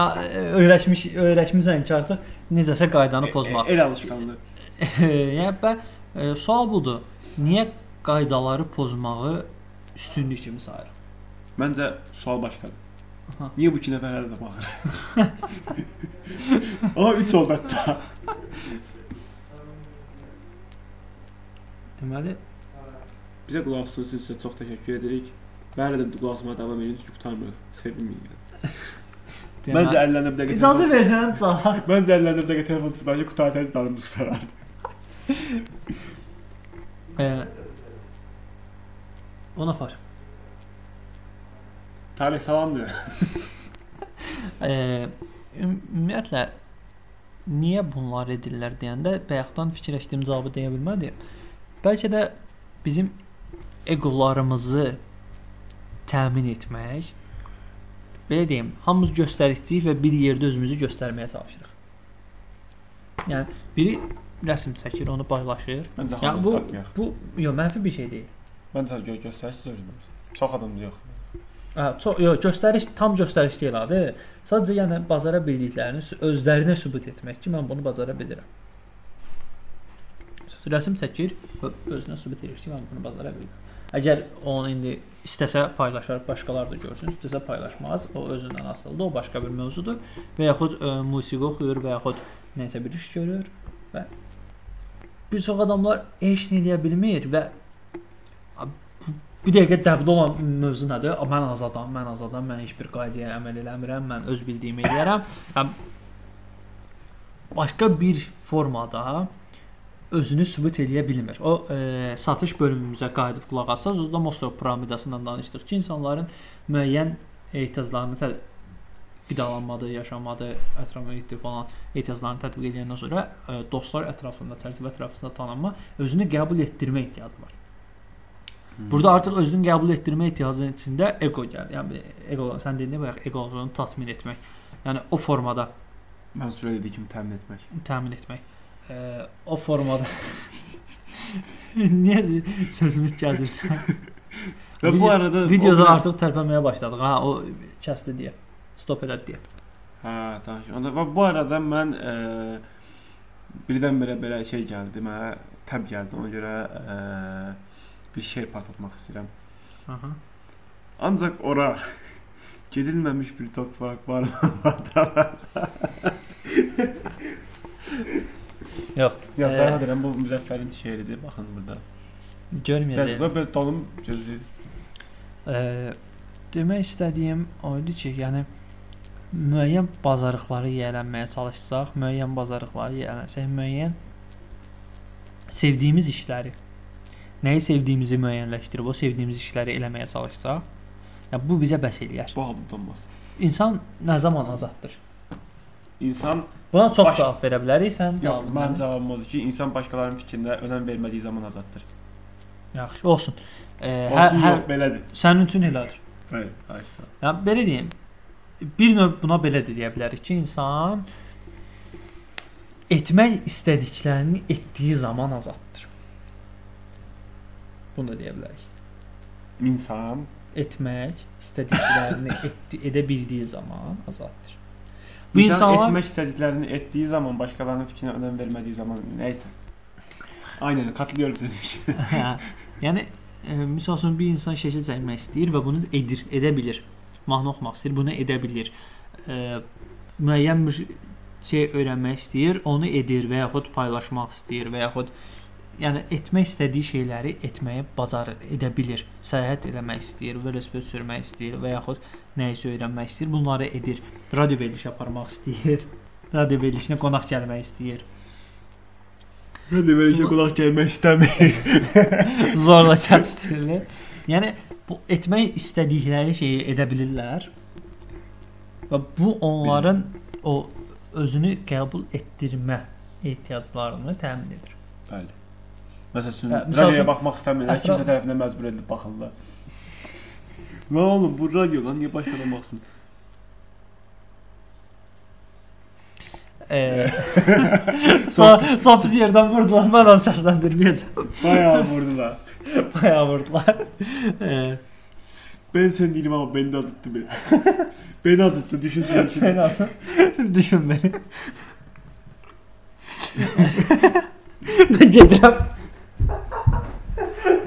öyrəşmiş öyrəşmisən ki, artıq necəsə qaydanı pozmaq.
E, El alışqanlığı.
yəni bə- e, sual budur. Niyə qaydaları pozmağı üstünlük kimi sayırıq?
Məncə sual başqadır.
Aha.
Niyə bu iki nəfərə də baxır? Aha 3 oldu hətta.
Deməli,
Bizə qulaq asdığınız üçün sizə çox təşəkkür edirik. Və hələ də qulaq asmağa davam edin çünki utanmırıq. Sevinməyin. yəni. Məncə
deməli
əllərinə bir dəqiqə
İcazə
telefon-
versən, ca.
Məncə əllərinə bir dəqiqə telefon tutmayın ki, qutarsaydı dalımız qutarardı.
E, Ona apar.
Tarix salamdır.
Ə, ümumiyyətlə niyə bunlar edirlər deyəndə bayaqdan fikirləşdiyim cavabı deyə bilmədim. Bəlkə də bizim eqolarımızı təmin etmək belə deyim, hamımız göstəriciyik və bir yerdə özümüzü göstərməyə çalışırıq. Yəni biri rəsm çəkir, onu paylaşır.
Məncə
Yəni
hamımız
bu
tapmayaq.
bu yox mənfi bir şey deyil.
Məncə gör göstərsiz özünüz. Çox adamız yox.
Hə, çox yox, göstəriş tam göstəriş deyil adı. Sadəcə yəni bazara bildiklərini sü- özlərinə sübut etmək ki, mən bunu bacara bilirəm. Sözü Rəsm çəkir və özünə sübut edir ki, mən bunu bacara bilirəm. Əgər onu indi istəsə paylaşar, başqalar da görsün, istəsə paylaşmaz. O özündən asılıdır, o başqa bir mövzudur. Və yaxud ə, musiqi oxuyur və yaxud nəsə bir iş görür və bir çox adamlar heç nə eləyə bilmir və Bir dəqiqə dəbdə olan mövzu nədir? A, Mən azadam, mən azadam, mən heç bir qaydaya əməl eləmirəm, mən öz bildiyimi eləyərəm. Həm başqa bir formada özünü sübut eləyə bilmir. O e, satış bölümümüzə qayıdıb qulaq assaz, orada Mosov piramidasından danışdıq ki, insanların müəyyən ehtiyaclarını tə- qidalanmadı, yaşamadı, ətraf mühitdi falan ehtiyaclarını tətbiq edəndən sonra e, dostlar ətrafında, çərçivə ətrafında tanınma, özünü qəbul etdirmə ehtiyacı var. Burada artıq özünü qəbul etdirmə ehtiyacının içində ego gəlir. Yəni ego sən dedin də bayaq eqonu tatmin etmək. Yəni o formada
Mənsur dediyi kimi təmin etmək.
təmin etmək. Eee, Ee, o formada Niyə sözümü gəzirsən?
Və bu
Video-
arada
videoda
o-
artıq tərpənməyə başladıq. Ha, o kəsdi deyə. Stop elədi deyə.
Hə, danış. Onda və bu arada mən e, birdən-birə belə şey gəldi mənə, təb gəldi. Ona görə e, bir şey patlatmaq istəyirəm.
Aha.
Ancaq ora gedilməmiş bir torpaq var. Vardaraq.
Yox.
Yox, E,
Ee,
sənə deyirəm bu Müzəffərin şeiridir. Baxın burada. Bəs
Görməyəcəyəm.
bu bir tonum gözü.
Eee, demək istədiyim o idi ki, yəni müəyyən bazarlıqları yiyələnməyə çalışsaq, müəyyən bazarlıqları yiyələnsək, müəyyən sevdiyimiz işləri, nəyi sevdiyimizi müəyyənləşdirib o sevdiyimiz işləri eləməyə çalışsaq, yəni bu bizə bəs eləyər.
Bu halda olmaz.
İnsan nə zaman azaddır?
İnsan
Buna çox
Baş-
cavab verə bilərik, sən
Yox,
cavabın
mənim
nədir?
cavabım odur ki, insan başqalarının fikrinə önəm vermədiyi zaman azaddır.
Yaxşı, olsun.
E,
Eee, hər,
Olsun,
hər
yox, belədir.
sənin üçün elədir.
Bəli, aysa.
Ya belə deyim. Bir növ buna belə də deyə bilərik ki, insan etmək istədiklərini etdiyi zaman azaddır. Bunu da deyə bilərik.
İnsan
Etmək istədiklərini etdi, edə bildiyi zaman azaddır. Bu
bu
insanlar
etmək istədiklərini etdiyi zaman başqalarının fikrinə önəm vermədiyi zaman nə isə. Aynən katılıyorum sizə.
Hə. Yəni e, misal üçün bir insan şəkil çəkmək istəyir və bunu edir, edə bilir. Mahnı oxumaq istəyir, bunu edə bilir. E, müəyyən bir şey öyrənmək istəyir, onu edir və yaxud paylaşmaq istəyir və yaxud yəni etmək istədiyi şeyləri etməyi bacarır, edə bilir. Səyahət eləmək istəyir, velosiped sürmək istəyir və yaxud nəyisə öyrənmək istəyir, bunları edir. Radio verilişi aparmaq istəyir. Radio verilişinə qonaq gəlmək istəyir.
Mən də belə
işə
qulaq gəlmək istəmirəm.
zorla çatışdırılır. Yəni bu etmək istədikləri şeyi edə bilirlər. Və bu onların o özünü qəbul etdirmə ehtiyaclarını təmin edir.
Bəli. Məsələn,
Hə, misal
radioya
üçün-
baxmaq istəmirlər,
Ətraf-
kimsə tərəfindən məcbur edilib baxırlar. Nə oğlum, bu radio lan, niyə başqadan baxsın?
Eee çox çox pis yerdən vurdular. Mən onu səsləndirməyəcəm.
Bayağı vurdular.
Bayağı vurdular. Eee
Ben sen değilim ama beni de acıttı beni. beni acıttı, düşünsene
en
şimdi.
azı düşün beni. ben gedirəm.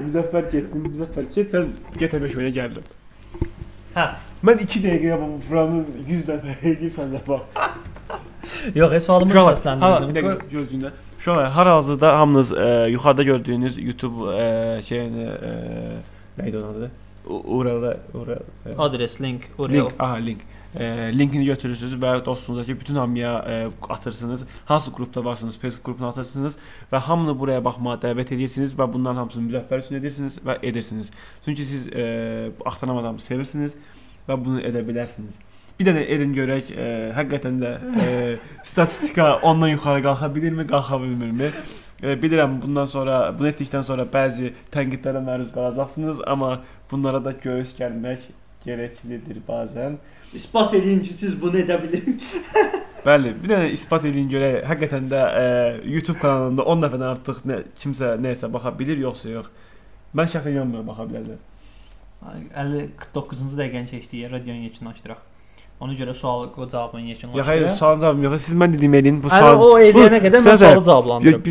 Müzəffər getsin, Müzəffər get, sən get əmək oyuna gəldim.
Hə.
Mən 2 dəqiqəyə bu buranı 100 dəfə edib səndə bax.
Yox, heç sualımı səsləndirdim.
bir dəqiqə gözlüyündə. Şöyle, hal-hazırda hamınız e, yuxarıda gördüyünüz YouTube e, şeyini e, neydi onun adı? Ural'a, Ural. e,
Adres link Oreo.
Link, aha link. E, linkini götürürsünüz və dostunuzdakı bütün hamıya e, atırsınız. Hansı qrupda varsınız, Facebook qrupuna atırsınız və hamını buraya baxmağa dəvət edirsiniz və bunların hamısını müzəffər üçün edirsiniz və edirsiniz. Çünki siz e, axtaran adamı sevirsiniz və bunu edə bilərsiniz. Bir dənə edin görək, e, həqiqətən də e, statistika ondan yuxarı qalxa bilirmi, qalxa bilmirmi? E, bilirəm bundan sonra, bunu etdikdən sonra bəzi tənqidlərə məruz qalacaqsınız, amma bunlara da göğüs gəlmək gereklidir bazen.
İspat edin ki siz bunu edə bilirsiniz.
Bəli, bir dənə isbat edin görək, həqiqətən də e, YouTube kanalında 10 dəfədən artıq nə, kimsə nəyəsə baxa bilir yoxsa yox. Mən şəxsən inanmıram baxa bilərlər.
59-cu dəqiqəni keçdik, radionu yekunlaşdıraq. Ona görə sualı o cavabını yekunlaşdıraq.
Ya xeyr, sualın cavabı yox. Siz mən dediyim eləyin bu
Hələ
sual.
o eləyənə qədər mən
Sənə də-
sualı cavablandırım.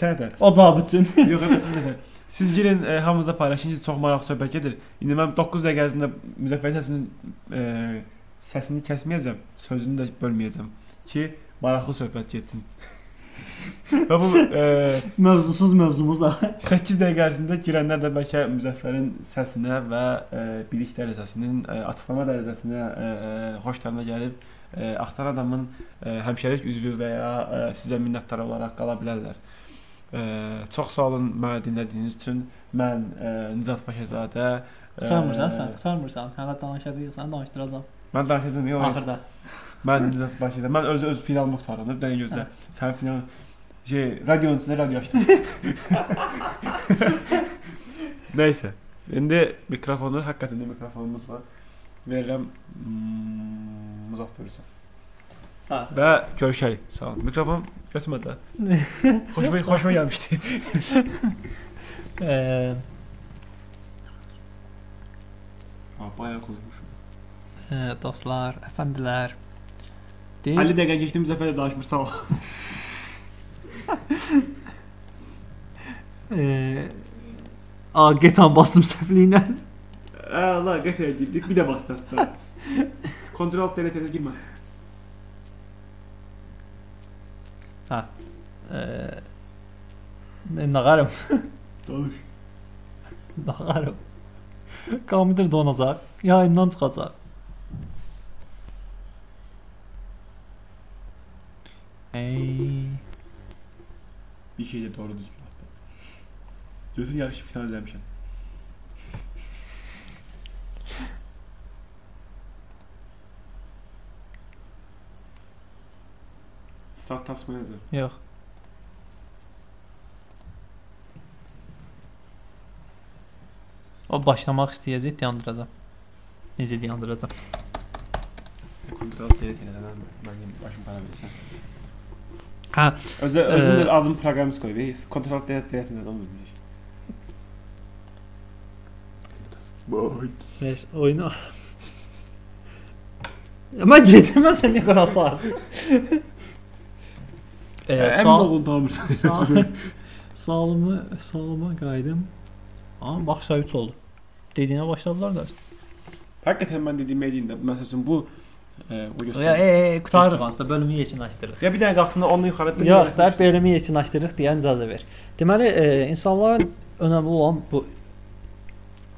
Sənə də.
O cavab üçün.
Yox, yox, siz də. Siz girin, e, hamınıza paylaşın ki, çox maraqlı söhbət gedir. İndi mən 9 dəqiqə ərzində Müzəffər səsinin e, səsini kəsməyəcəm, sözünü də bölməyəcəm ki, maraqlı söhbət getsin. Və bu e,
Mövzusuz mövzumuz da.
8 dəqiqə ərzində girənlər də bəlkə Müzəffərin səsinə və e, bilik dərəcəsinin e, açıqlama dərəcəsinə e, e, xoşlarına gəlib e, axtaran adamın e, həmşərik üzvü və ya e, sizə minnətdar olaraq qala bilərlər. E, çox sağ olun məni dinlədiyiniz üçün. Mən e, Nicat Paşazadə. e,
Qurtarmırsan sən, qurtarmırsan. Hələ danışacağıq, səni danışdıracağam.
Mən danışacağam, yox.
Axırda.
Mən Nicat Paşazadə. Mən öz öz final muxtarımdır. Dəyə gözlə. Sənin final şey, radionun içində radio açdım. Nəysə. İndi mikrofonu, həqiqətən də mikrofonumuz var. Verirəm mm, Muzaf Börsə.
Ha.
Və görüşərik. Sağ olun. Mikrofon götürmədi. xoşuma, xoşuma gəlmişdi.
Eee,
Ha, bayaq konuşmuşum.
eee, e, dostlar, əfəndilər.
50 dəqiqə keçdi Müzəffər də danışmır. Sağ ol.
e,
Eee A, getan bastım səhvliyinə.
Əla, qətiyə girdik. Bir də bastırdı. Kontrol TRT-də girmə.
E, Eee, nağarım.
Danış.
Nağarım. Kompüter donacaq, yayından çıxacaq. Ey,
Bir şey də doğru düzgün atdı. Gözün yaxşı final eləmişəm. Start task manager.
yox. O başlamaq istəyəcək, dayandıracam. Necə dayandıracam?
Kontrol TRT-dən mənim başım para versən.
Hə,
Özə özün
Ee,
bir adını proqramist qoy. Biz kontrol TRT-dən onu bilmirik.
Boy.
Beş oyunu. Ama getirmezsen ne kadar sağ. ee,
Əmin
sağ,
olun tanımırsan.
sağ, sağlığımı, sağlığıma kaydım. Ama bak sağ 3 oldu. Dediğine başladılar da.
Həqiqətən mən dediyim eləyində. Məsəl üçün bu e, o
Ya
göstərir.
e, qutarırıq aslında bölümü yekunlaşdırırıq.
Ya bir dənə qalxsın da onu yuxarı atdı.
Yox, sən bölümü yekunlaşdırırıq deyən icazə ver. Deməli, e, insanların önəmli olan bu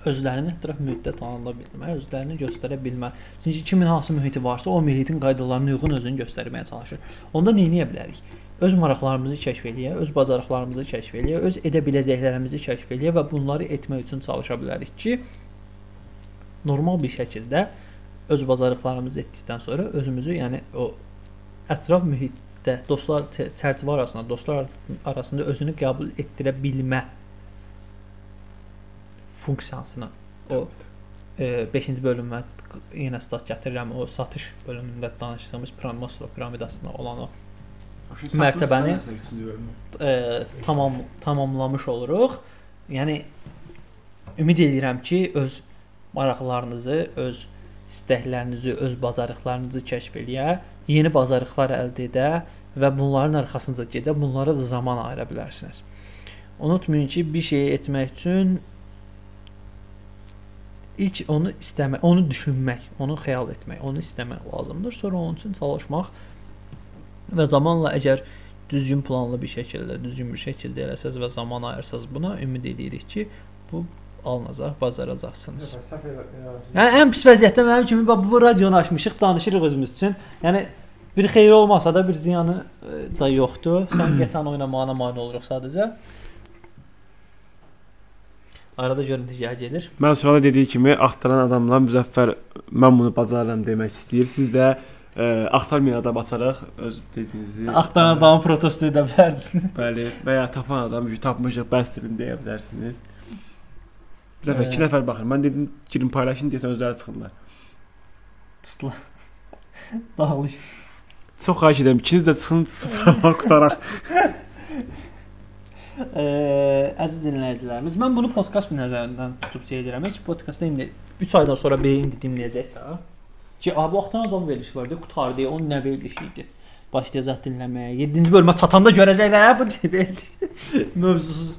özlərini ətraf mühitdə tanıda bilmə, özlərini göstərə bilmə. Çünki kimin hansı mühiti varsa, o mühitin qaydalarına uyğun özünü göstərməyə çalışır. Onda nə edə bilərik? Öz maraqlarımızı kəşf eləyə, öz bacarıqlarımızı kəşf eləyə, öz edə biləcəklərimizi kəşf eləyə və bunları etmək üçün çalışa bilərik ki, normal bir şəkildə öz bacarıqlarımızı etdikdən sonra özümüzü, yəni o ətraf mühit də dostlar çə- çərçivə arasında, dostlar arasında özünü qəbul etdirə bilmə funksiyasını o 5-ci bölümə q- yenə stat gətirirəm. O satış bölümündə danışdığımız Maslow piramidasında olan o mərtəbəni- e, tamam tamamlamış oluruq. Yəni ümid edirəm ki, öz maraqlarınızı, öz istəklərinizi, öz bacarıqlarınızı kəşf eləyə, yeni bacarıqlar əldə edə və bunların arxasınca gedə, bunlara da zaman ayıra bilərsiniz. Unutmayın ki, bir şeyi etmək üçün ilk onu istəmək, onu düşünmək, onu xəyal etmək, onu istəmək lazımdır. Sonra onun üçün çalışmaq və zamanla əgər düzgün planlı bir şəkildə, düzgün bir şəkildə eləsəz və zaman ayırsaz buna ümid edirik ki, bu alınacaq, bacaracaqsınız. Yəni ən pis vəziyyətdə mənim kimi bax bu radionu açmışıq, danışırıq özümüz üçün. Yəni bir xeyir olmasa da bir ziyanı e, da yoxdur. Sən getan oynamağına mane oluruq sadəcə. Arada görüntü gəl gedir.
Mən sırada dediyi kimi axtaran adamla Müzəffər mən bunu bacarıram demək istəyir. Siz də ə, axtarmayan adam açaraq öz dediyinizi e,
Axtaran adamı protesto edə bilərsiniz.
bəli və ya tapan adam ki, tapmışıq bəsdirin deyə bilərsiniz. Müzəffər 2
Ə.
nəfər baxır. Mən dedim girin paylaşın desən özləri çıxırlar.
Tutla. Dağılış.
Çox xahiş edirəm ikiniz də çıxın sıfıra qutaraq.
Eee, əziz dinləyicilərimiz, mən bunu podkast bir nəzərindən tutub şey edirəm. Heç podkastda indi 3 aydan sonra biri indi dinləyəcək də. Ki, "A, bu vaxtdan adam verilişi var da, qutardı, onun nə verilişi idi?" Başlayacaq dinləməyə. 7-ci bölümə çatanda görəcəklər, "Hə, bu deyil, veriliş." Mövzusuz.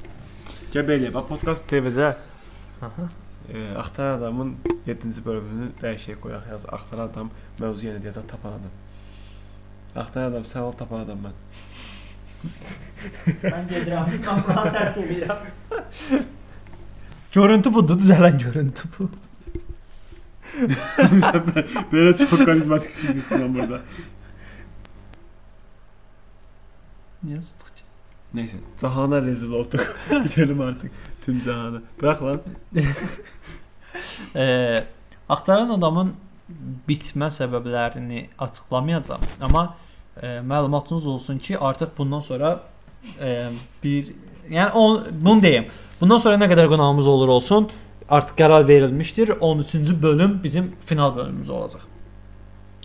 Gəl belə bax podkast TV-də
Aha.
ə, axtaran adamın 7-ci bölümünü dəyişək qoyaq yaz. Axtaran adam mövzu yenə deyəcək tapan adam. Axtaran adam sən ol tapan adam mən.
Mən gedirəm. Qapını tərk edirəm.
Görüntü budur, düzələn görüntü bu.
Belə çox karizmatik çıxmışsan burada.
Niyə sıxdıq ki?
Neyse. Cahana rezil olduk. Gidelim artık. Tüm cahana. Bırak lan.
Eee, axtaran adamın bitmə səbəblərini açıqlamayacağam, amma eee, məlumatınız olsun ki, artıq bundan sonra eee, bir yəni on, bunu deyim. Bundan sonra nə qədər qonağımız olur olsun, artıq qərar verilmişdir. 13-cü bölüm bizim final bölümümüz olacaq.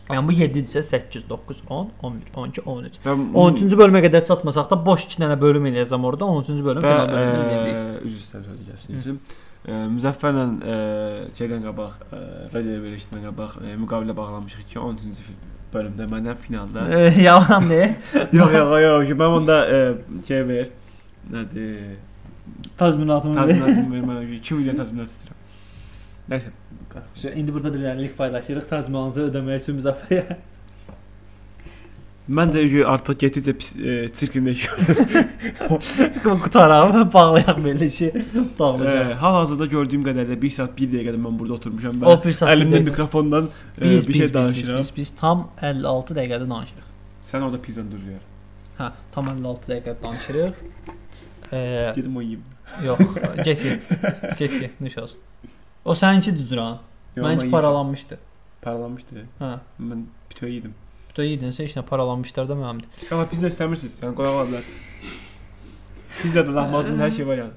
Yəni bu 7 isə 8, 9, 10, 11, 12, 13.
Ben,
13-cü bölümə qədər çatmasaq da boş 2 dənə bölüm eləyəcəm orada. 13-cü bölüm
və
final bölümünü eləyəcəyik.
eee, üzr istəyirəm sözü kəsdiyim üçün. Eee, E, Müzəffərlə eee, şeydən qabaq, e, eee, radio verilişindən qabaq eee, müqavilə bağlamışıq ki, 13-cü fi- bölümdə məndən finalda.
Eee, Yalan ne?
yox, yox, yox, ki, mən onda eee, şey ver. Nədir?
Tazminatımı
Təzminatımı verməliyəm ki, 2 milyon təzminat istəyirəm. Nəysə,
İndi burada da bilərlik paylaşırıq tazminatı ödəmək üçün müzəffərə.
məncə ki, artıq getdikcə pis e, eee, çirkinləşir.
Qutaraq, bağlayaq belə işi. Bağlayaq.
Eee, E, Hal-hazırda gördüyüm qədərlə 1 saat 1 dəqiqədir mən burada oturmuşam.
O bir saat, bir
əlimdə
dəqiqə.
mikrofondan eee,
Biz,
Ee,
biz,
bir şey
biz, biz,
danışıram.
biz, biz tam 56 dəqiqədə danışırıq.
Sən orada pizzanı duruyor.
Hə, tam 56 dəqiqədə danışırıq. Eee,
Gedim o yeyim.
yox, get get. Get get, nuş şey olsun. O səninkidir duran.
Yox, mən
Mənki
yeyim.
paralanmışdı.
Paralanmışdı.
Hə.
Mən bütöy yedim.
Bütün yedinsə işlə paralanmışlar da mənimdir.
Amma pizza istəmirsiniz. Yəni qoya bilərsiniz. Pizzada lahmacun hər şey var yəni.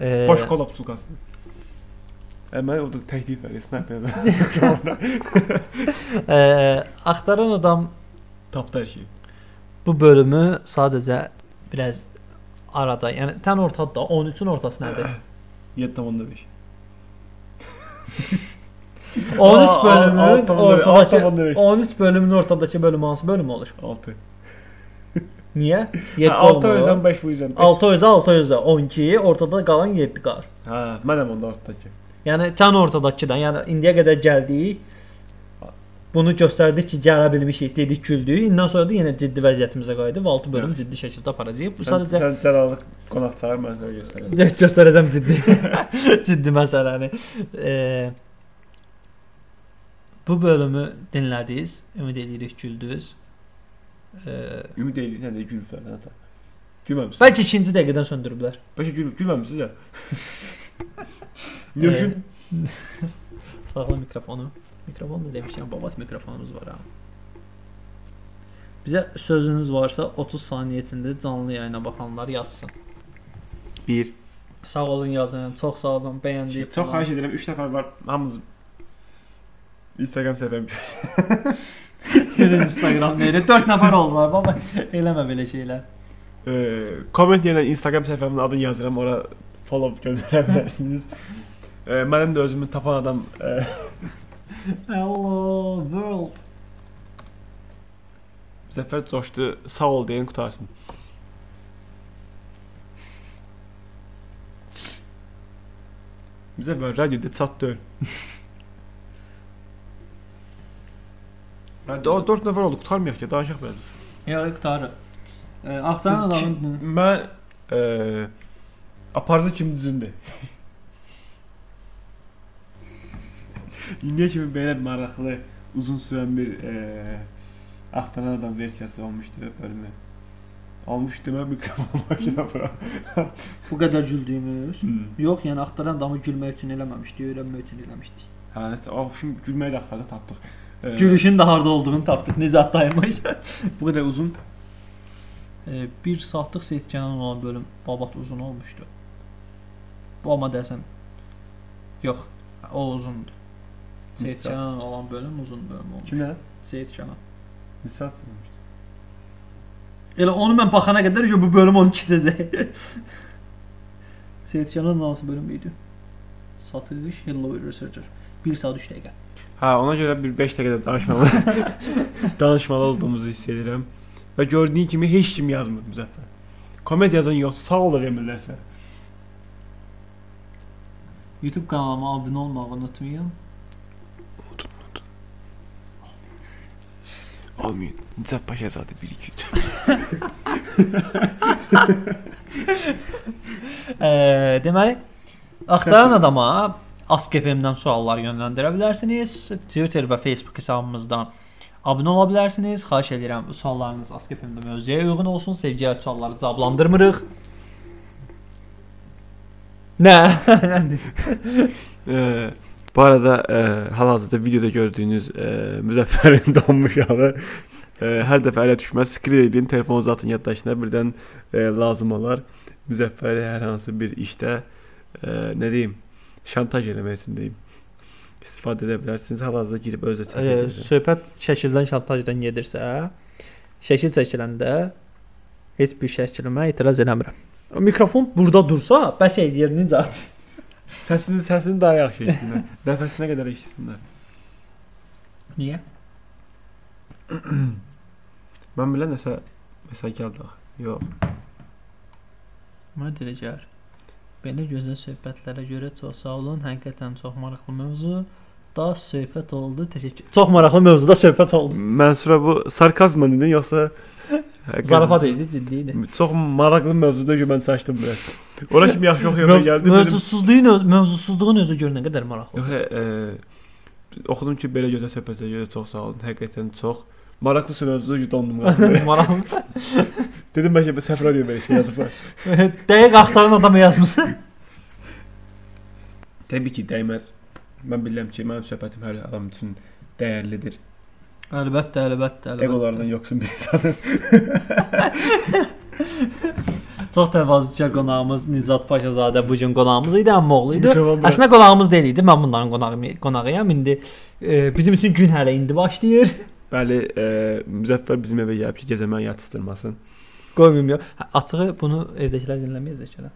Eee,
Boş kola butulkası.
Ə, mən orada təklif verir snayperdən.
Eee, axtaran e, adam
Tapdı hər şey.
bu bölümü sadəcə biraz arada, yəni tən ortada da 13-ün ortası nədir?
7.5.
13 bölümün
altı onda bir, altı onda
ortadakı
bir.
13 bölümün ortadakı bölüm hansı bölüm olur?
6.
Niyə? 7
6
olmur.
özəm 5 bu yüzden.
6 özə 6 özə 12 ortada qalan 7 qar.
Hə, mənəm onda ortadakı.
Yəni tən ortadakıdan, yəni indiyə qədər gəldik. Bunu göstərdik ki, gələ bilmişik, dedik, güldük. İndən sonra da yenə ciddi vəziyyətimizə qayıdıb 6 bölüm ciddi şəkildə aparacağıq. Bu
Sən,
sadəcə
sən cəlalıq qonaq çağır mən sənə göstərəm.
Gö- göstərəcəm ciddi ciddi hani. məsələni. Eee bu bölümü dinlədiniz. Ümid edirik Ee, güldünüz. Eee
Ümid eləyirəm sən də gül falan ata. Gülməmisən.
bəlkə ikinci dəqiqədən söndürüblər.
Bəlkə gül, gülməmisiniz ya. Nöşün
Eee, Sağlam Ee, mikrofonu. Mikrofon da demişəm, babat mikrofonumuz var ha. Bizə sözünüz varsa 30 saniyə içində canlı yayına baxanlar yazsın.
1.
Sağ olun yazın. Çox sağ olun. Bəyəndik.
Çox xahiş edirəm 3 nəfər var. Hamımız Instagram səhifəm.
edirəm. Instagram neydi? 4 nəfər oldular. Baba, eləmə belə şeylər.
Eee, Komment yerinə Ee, Instagram səhifəmin adını yazıram, ora follow göndərə bilərsiniz. Eee, Mənim də özümü tapan adam e, eee,
Hello world.
Zəfər coşdu. Sağ ol deyən qutarsın. Zəfər radioda çat döyür. Mən 4 nəfər olduq, qutarmayaq ki, danışaq belə.
Yox, qurtarır. E, Axtaran adamın
Mən eee aparıcı kimi düzündü. İndiyə kimi belə maraqlı, uzun sürən bir eee axtaran adam versiyası olmuşdu bölümü. Almışdı mən mikrofon başına bura.
bu qədər güldüyümüz.
Hmm.
Yox, yəni axtaran adamı gülmək üçün eləməmişdik, öyrənmək üçün eləmişdik.
Hə, nəsə, o şimdi gülməyi də axtarda tapdıq. E, Eee,
Gülüşün də harda olduğunu tapdıq. Necə atdaymış?
bu qədər uzun.
1 saatlıq Seyidkənan olan bölüm babat uzun olmuşdu. Bu amma desəm yox, o uzundur. Seyidkənan olan bölüm uzun bölüm olmuş.
Kimə?
Seyidkənan.
Nisat olmuşdu.
Elə onu mən baxana qədər ki, bu bölüm 12-dədir. Seyidkənan hansı bölüm idi? Satış Hello Researcher. 1 saat 3 dəqiqə.
Hə, ona görə bir 5 dəqiqə də danışmalı. danışmalı olduğumuzu hiss edirəm. Və gördüyün kimi heç kim yazmır Müzəffər. Komment yazan yoxdur. Sağ ol demirlərsə.
YouTube kanalıma abunə olmağı unutmayın.
Amin. Nicat Paşazadə 1 2 3.
Ə, deməli axtaran adama Ask FM-dən suallar yönləndirə bilərsiniz. Twitter və Facebook hesabımızdan abunə ola bilərsiniz. Xahiş edirəm suallarınız Ask FM-də mövzuya uyğun olsun. Sevgiyə sualları cavablandırmırıq. Nə?
Ee, bu arada e, hal-hazırda videoda gördüyünüz e, Müzəffərin donmuş halı e, hər dəfə ələ düşməz. Screen edin, telefonu zatın yaddaşına birdən e, lazım olar. Müzəffəri hər hansı bir işdə e, nə deyim, şantaj eləmək üçün deyim. İstifadə edə bilərsiniz. Hal-hazırda girib özü
Ə,
çəkilir.
söhbət şəkildən şantajdan gedirsə, şəkil çəkiləndə heç bir şəkilimə etiraz eləmirəm. Mikrofon burada dursa, bəs edir necə?
Səsini səsini daha yaxşı eşitsinlər. Nəfəsinə qədər eşitsinlər.
Niyə?
Mən bilən nəsə məsəl gəldi axı. Yox.
Mənə belə gəlir. Belə gözəl söhbətlərə görə çox sağ olun. Həqiqətən çox maraqlı mövzu da söhbət oldu. Təşəkkür. Çox maraqlı mövzuda söhbət oldu.
Mənsura bu sarkazmla idi yoxsa
Zarafat idi, ciddi idi.
Çox maraqlı mövzuda ki mən çaşdım belə. Ora kimi yaxşı oxuyub gəldi.
Mövzusuzluğun öz- mövzusuzluğun özü gör nə qədər maraqlı.
Yox, e, oxudum ki belə gözəl söhbətlərə görə çox sağ olun. Həqiqətən çox maraqlı mövzuda yudandum qaldım.
maraqlı.
Dedim bəlkə bir səfərə deyim belə şey yazıblar.
Dəqiq axtaran adama yazmısan.
Təbii ki, dəyməz. Mən bilirəm ki, mənim söhbətim hər adam üçün dəyərlidir.
Əlbəttə, əlbəttə,
Eqolardan yoxsun bir insanın.
Çox təvazökar qonağımız Nizat Paşazadə bu gün qonağımız idi, əmmoğlu idi.
Mikrofon bura-
Əslində qonağımız deyil idi. Mən bunların qonağı qonağıyam. İndi e, bizim üçün gün hələ indi başlayır.
Bəli, e, Müzəffər bizim evə gəlib ki, gecə məni yatışdırmasın.
Qoymayım yox. Hə, Açığı bunu evdəkilər dinləməyəcək hələ.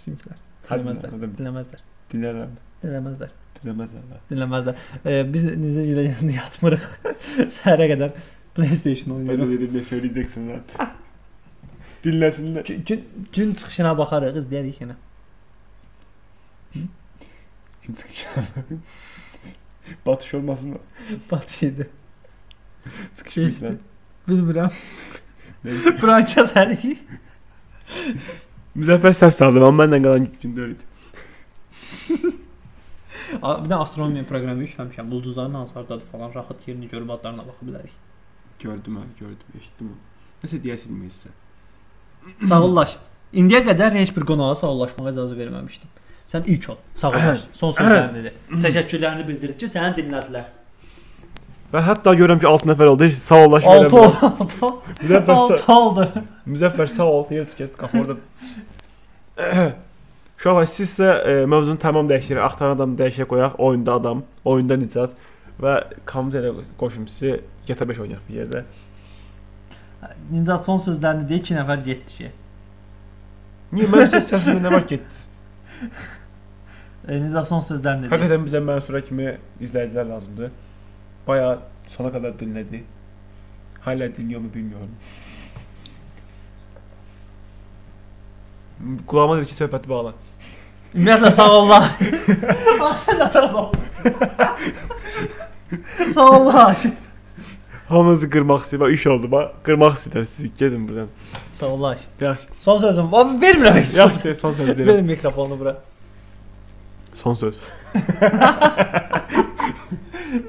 Bizimkilər. Dinləməzlər.
Hadi, hadi.
Dinləməzlər.
Dinlərəm.
Dinləməzlər.
Dinləməzlər. də.
Dinləməzlər. E, biz necə gedəndə yatmırıq. Səhərə qədər PlayStation
Böyle
oynayırıq.
dedim ne söyleyeceksin lan. Dinlesinler.
Gün, gün- gün çıxışına baxarıq, izləyirik yenə.
Batış olmasın da.
Batış idi.
Sıkışmış lan.
Bilmirəm. Bırakacağız hər iki.
Müzəffər səhv saldı, amma mənlə qalan gündə öldü.
A- Bir də astronomiya proqramı işləmişəm. Ulduzların hansılardadır falan rahat yerini görüb adlarına baxa bilərik.
Gördüm ha, gördüm, eşitdim onu. Nəsə deyəsin mi sizə?
Sağolaş. İndiyə qədər heç bir qonağa sağollaşmağa icazə verməmişdim. Sən ilk ol. Sağolaş. Son sözlərini de. Təşəkkürlərini bildirib ki, səni dinlədilər.
Və hətta görürəm ki, 6 nəfər oldu. Heç sağ ol, laş
6 ol, 6 ol.
Müzəffər, sağ-
6 oldu.
Müzəffər sağ ol, yer çıkart qapı orada. Uşaqlar, sizsə e, mövzunu tamam dəyişirik. Axtaran adam dəyişə qoyaq. Oyunda adam, oyunda Nicat və komitəyə qoşum sizi GTA 5 oynayaq bir yerdə.
Ninja son sözlərini deyir 2 nəfər getdi ki.
Niyə mənim səs səsimdə nə var getdi?
E, Ninja son sözlərini deyir.
Həqiqətən bizə Mənsura kimi izləyicilər lazımdır. Bayağı sona qədər dinlədi. Hələ dinləyirmi bilmirəm. Qulağıma dedi ki, söhbəti bağla.
Ümumiyyətlə sağ olaş. Bax sən də sağ ol. Sağ olaş.
Hamınızı qırmaq istəyir, bax, iş oldu, bax. Qırmaq istəyirlər sizi. Gedin buradan.
Sağ olaş.
Yaxşı,
Son sözüm. Va- Vermirəm heç.
yaxşı, deyil, son söz deyirəm.
Verin mikrofonu bura.
Son söz.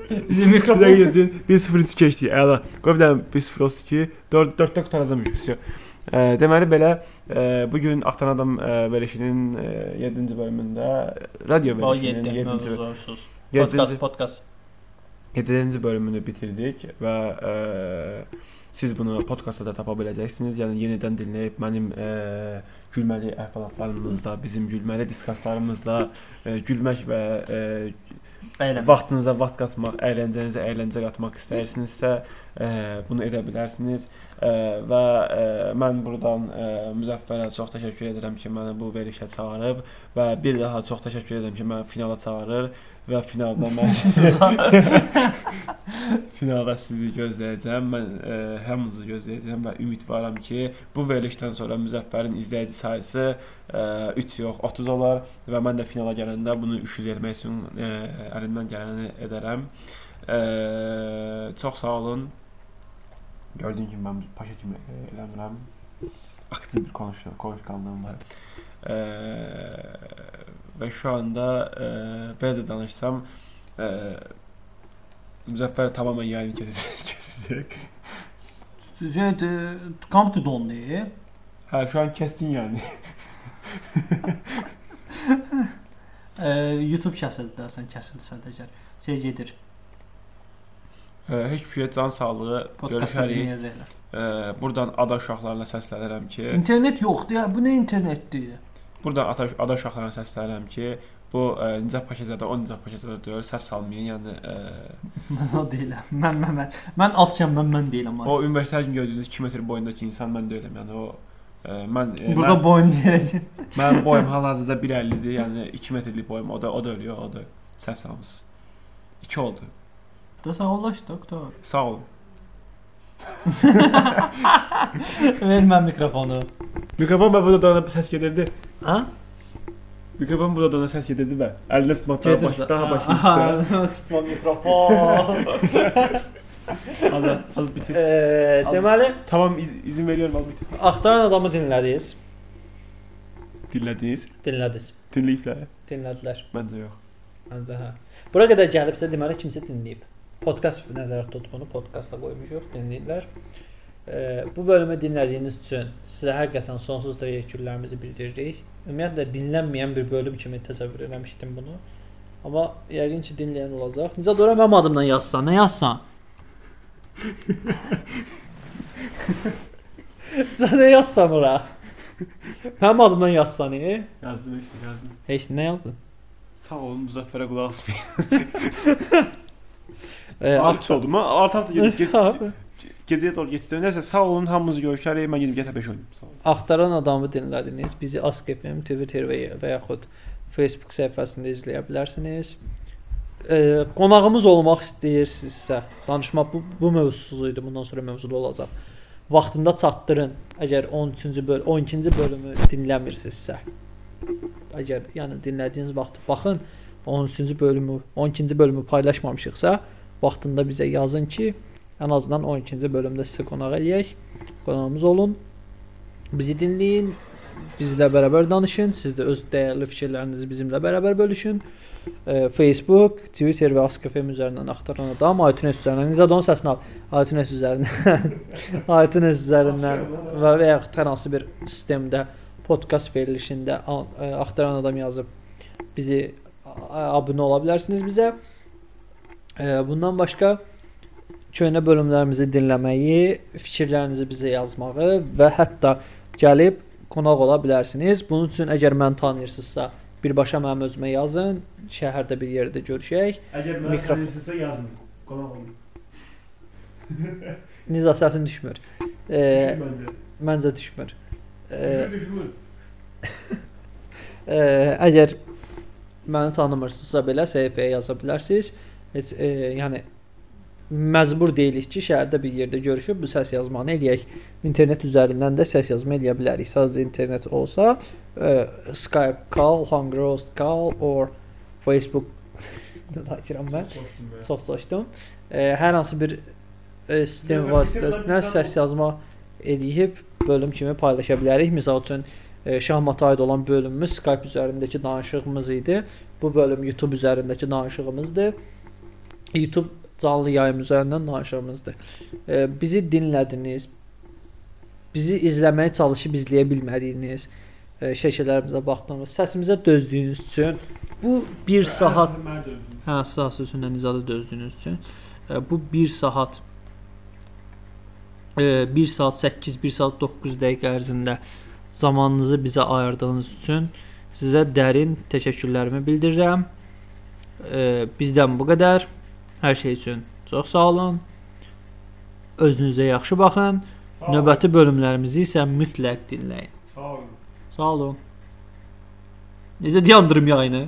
Bir dəqiqə
Mikrofon.
gözləyin. 1-0-3 keçdik. Əla. Qoy bir dənə 1-0-2, 4-4-də qutaracam yüksəyə. E, deməli belə e, bu gün Atan adam e, verilişinin 7-ci bölümündə radio
O
verilişinin
7
7-ci
mövzusuz. Podkast,
7-ci
podkast.
7-ci bölümünü bitirdik və e, siz bunu podkastda da tapa biləcəksiniz. Yəni yenidən dinləyib mənim e, gülməli əhvalatlarımızla, bizim gülməli diskaslarımızla e, gülmək və e,
Əyləmə.
vaxtınıza vaxt qatmaq, əyləncənizə əyləncə qatmaq istəyirsinizsə, e, bunu edə bilərsiniz. E, və e, mən burdan e, Müzəffərə çox təşəkkür edirəm ki, məni bu verilişə çağırıb və bir daha çox təşəkkür edirəm ki, məni finala çağırır və finalda mən finalda sizi gözləyəcəm. Mən e, hamınızı gözləyəcəm və ümidvaram ki, bu verilişdən sonra Müzəffərin izləyici sayısı 3 yox, 30 olar və mən də finala gələndə bunu üşül etmək üçün e, ə, əlimdən gələni edərəm. Ə, çox sağ E, olun. Gördüğün kimi mən paşa kimi e, eləmirəm. Aktiv bir konuşma, konuşkanlığım var. E, və şu anda e, belə də danışsam e, Müzəffər tamamilə yayını kəsəcək. kəsəcək.
Cennet e, kamp to donlayı.
Hə, şu an kəsdin yəni.
E, YouTube kəsildi dəsən, kəsildi sadəcə. Şey gedir.
E, heç bir şey can sağlığı.
Podkastı
Görüşərik.
dinləyəcəklər.
E, buradan ada uşaqlarına səslənirəm ki,
İnternet yoxdur ya. Bu nə internetdir?
Burada ata, ada uşaqlarına səslənirəm ki, bu e, Nicə Paşazada, o Nicə Paşazada deyil, səhv salmayın. Yəni e,
Mən o deyiləm. Mən mən mən. Mən alçam, mən mən deyiləm.
o universitet gün gördüyünüz 2 metr boyundakı insan mən deyiləm. Yəni o e, mən e,
Burada boyun yerə gir.
mən, mənim boyum hal-hazırda 1.50-dir. Yəni 2 metrlik boyum. O da o da ölüyor, o da səhv salmısınız. 2 oldu.
Da sağ olaş doktor.
Sağ olun.
Ver mən mikrofonu.
Mikrofon mən burada dana səs gedirdi.
Ha?
Mikrofon burada dana səs gedirdi bə. Əlində tutmaq daha baş, daha baş istə.
Tutma mikrofon.
Az az bitir.
Eee, E, deməli,
Tamam iz- izin veriyorum al bitir.
axtaran adamı dinlədiniz.
Dinlədiniz?
Dinlədiniz.
Dinləyiblər?
Dinlədilər.
Məncə yox.
Məncə hə. Bura qədər gəlibsə deməli kimsə dinləyib. Podkast nəzərdə tutduğunu podkastda qoymuşuq, dinləyirlər. E, bu bölümü dinlədiyiniz üçün sizə həqiqətən sonsuz təşəkkürlərimizi bildiririk. Ümumiyyətlə dinlənməyən bir bölüm kimi təsəvvür etmişdim bunu. Amma yəqin ki dinləyən olacaq.
Necə dora mənim adımdan yazsan, nə yazsan?
Sən nə yazsan ora? Mənim adımdan yazsan, e?
Yazdım işte yazdım.
Heç nə yazdın?
Sağ olun Muzaffer'e kulak asmayın.
E,
Artı oldu mu? Artı
ah,
artı gezip gezip
Artı.
geziye doğru getiriyorum. Neyse sağ olun hamımızı görüşerek ben gidip GTA 5 oynayayım. Sağ olun.
Axtaran adamı dinlədiniz. Bizi Askepim, Twitter və və yaxud Facebook səhifəsində izləyə bilərsiniz. E, qonağımız olmaq istəyirsinizsə, danışma bu, bu mövzusuz idi. Bundan sonra mövzulu olacaq. Vaxtında çatdırın. Əgər 13-cü böl 12-ci bölümü dinləmirsinizsə. Əgər yəni dinlədiyiniz vaxt baxın 13-cü bölümü, 12-ci bölümü paylaşmamışıqsa, vaxtında bizə yazın ki, ən azından 12-ci bölümdə sizə qonaq eləyək. Qonağımız olun. Bizi dinləyin, bizlə bərabər danışın, siz də öz dəyərli fikirlərinizi bizimlə bərabər bölüşün. E, Facebook, Twitter və Askefem üzərindən axtaran adam iTunes üzərindən Nizadon səsini al. iTunes üzərindən iTunes üzərindən və və yaxud hər hansı bir sistemdə podkast verilişində a- e, axtaran adam yazıb bizi a- abunə ola bilərsiniz bizə. E, Bundan başqa köhnə bölümlərimizi dinləməyi, fikirlərinizi bizə yazmağı və hətta gəlib qonaq ola bilərsiniz. Bunun üçün əgər məni tanıyırsınızsa, birbaşa mənim özümə yazın. Şəhərdə bir yerdə görüşək.
Əgər
mənə Mikrofon.
yazın. Qonaq olun.
Niza səsin düşmür. E, məncə düşmür. E, e, əgər məni tanımırsınızsa belə səhifəyə yaza bilərsiniz. Heç e, yəni məcbur deyilik ki, şəhərdə bir yerdə görüşüb bu səs yazmanı eləyək. İnternet üzərindən də səs yazma eləyə bilərik. Sadəcə internet olsa, e, Skype call, Hangouts call or Facebook Dakiram mən. Çox çaşdım. E, hər hansı bir e, sistem vasitəsilə səs yazma eləyib bölüm kimi paylaşa bilərik. Məsəl üçün e, şahmata aid olan bölümümüz Skype üzərindəki danışığımız idi. Bu bölüm YouTube üzərindəki danışığımızdır. YouTube canlı yayım üzərindən danışığımızdır. E, bizi dinlədiniz. Bizi izləməyə çalışıb izləyə bilmədiyiniz e, şəkillərimizə baxdığınız, səsimizə dözdüyünüz üçün bu 1 saat
Hə, sağ sözündən izadı dözdüyünüz üçün. E, Bu 1 saat e, 1 saat 8, 1 saat 9 dəqiqə ərzində zamanınızı bizə ayırdığınız üçün sizə dərin təşəkkürlərimi bildirirəm. E, Bizdən bu qədər. Hər şey üçün çox sağ olun. Özünüzə yaxşı baxın. Növbəti bölümlərimizi isə mütləq dinləyin.
Sağ olun.
Sağ olun. Necə dayandırım yayını?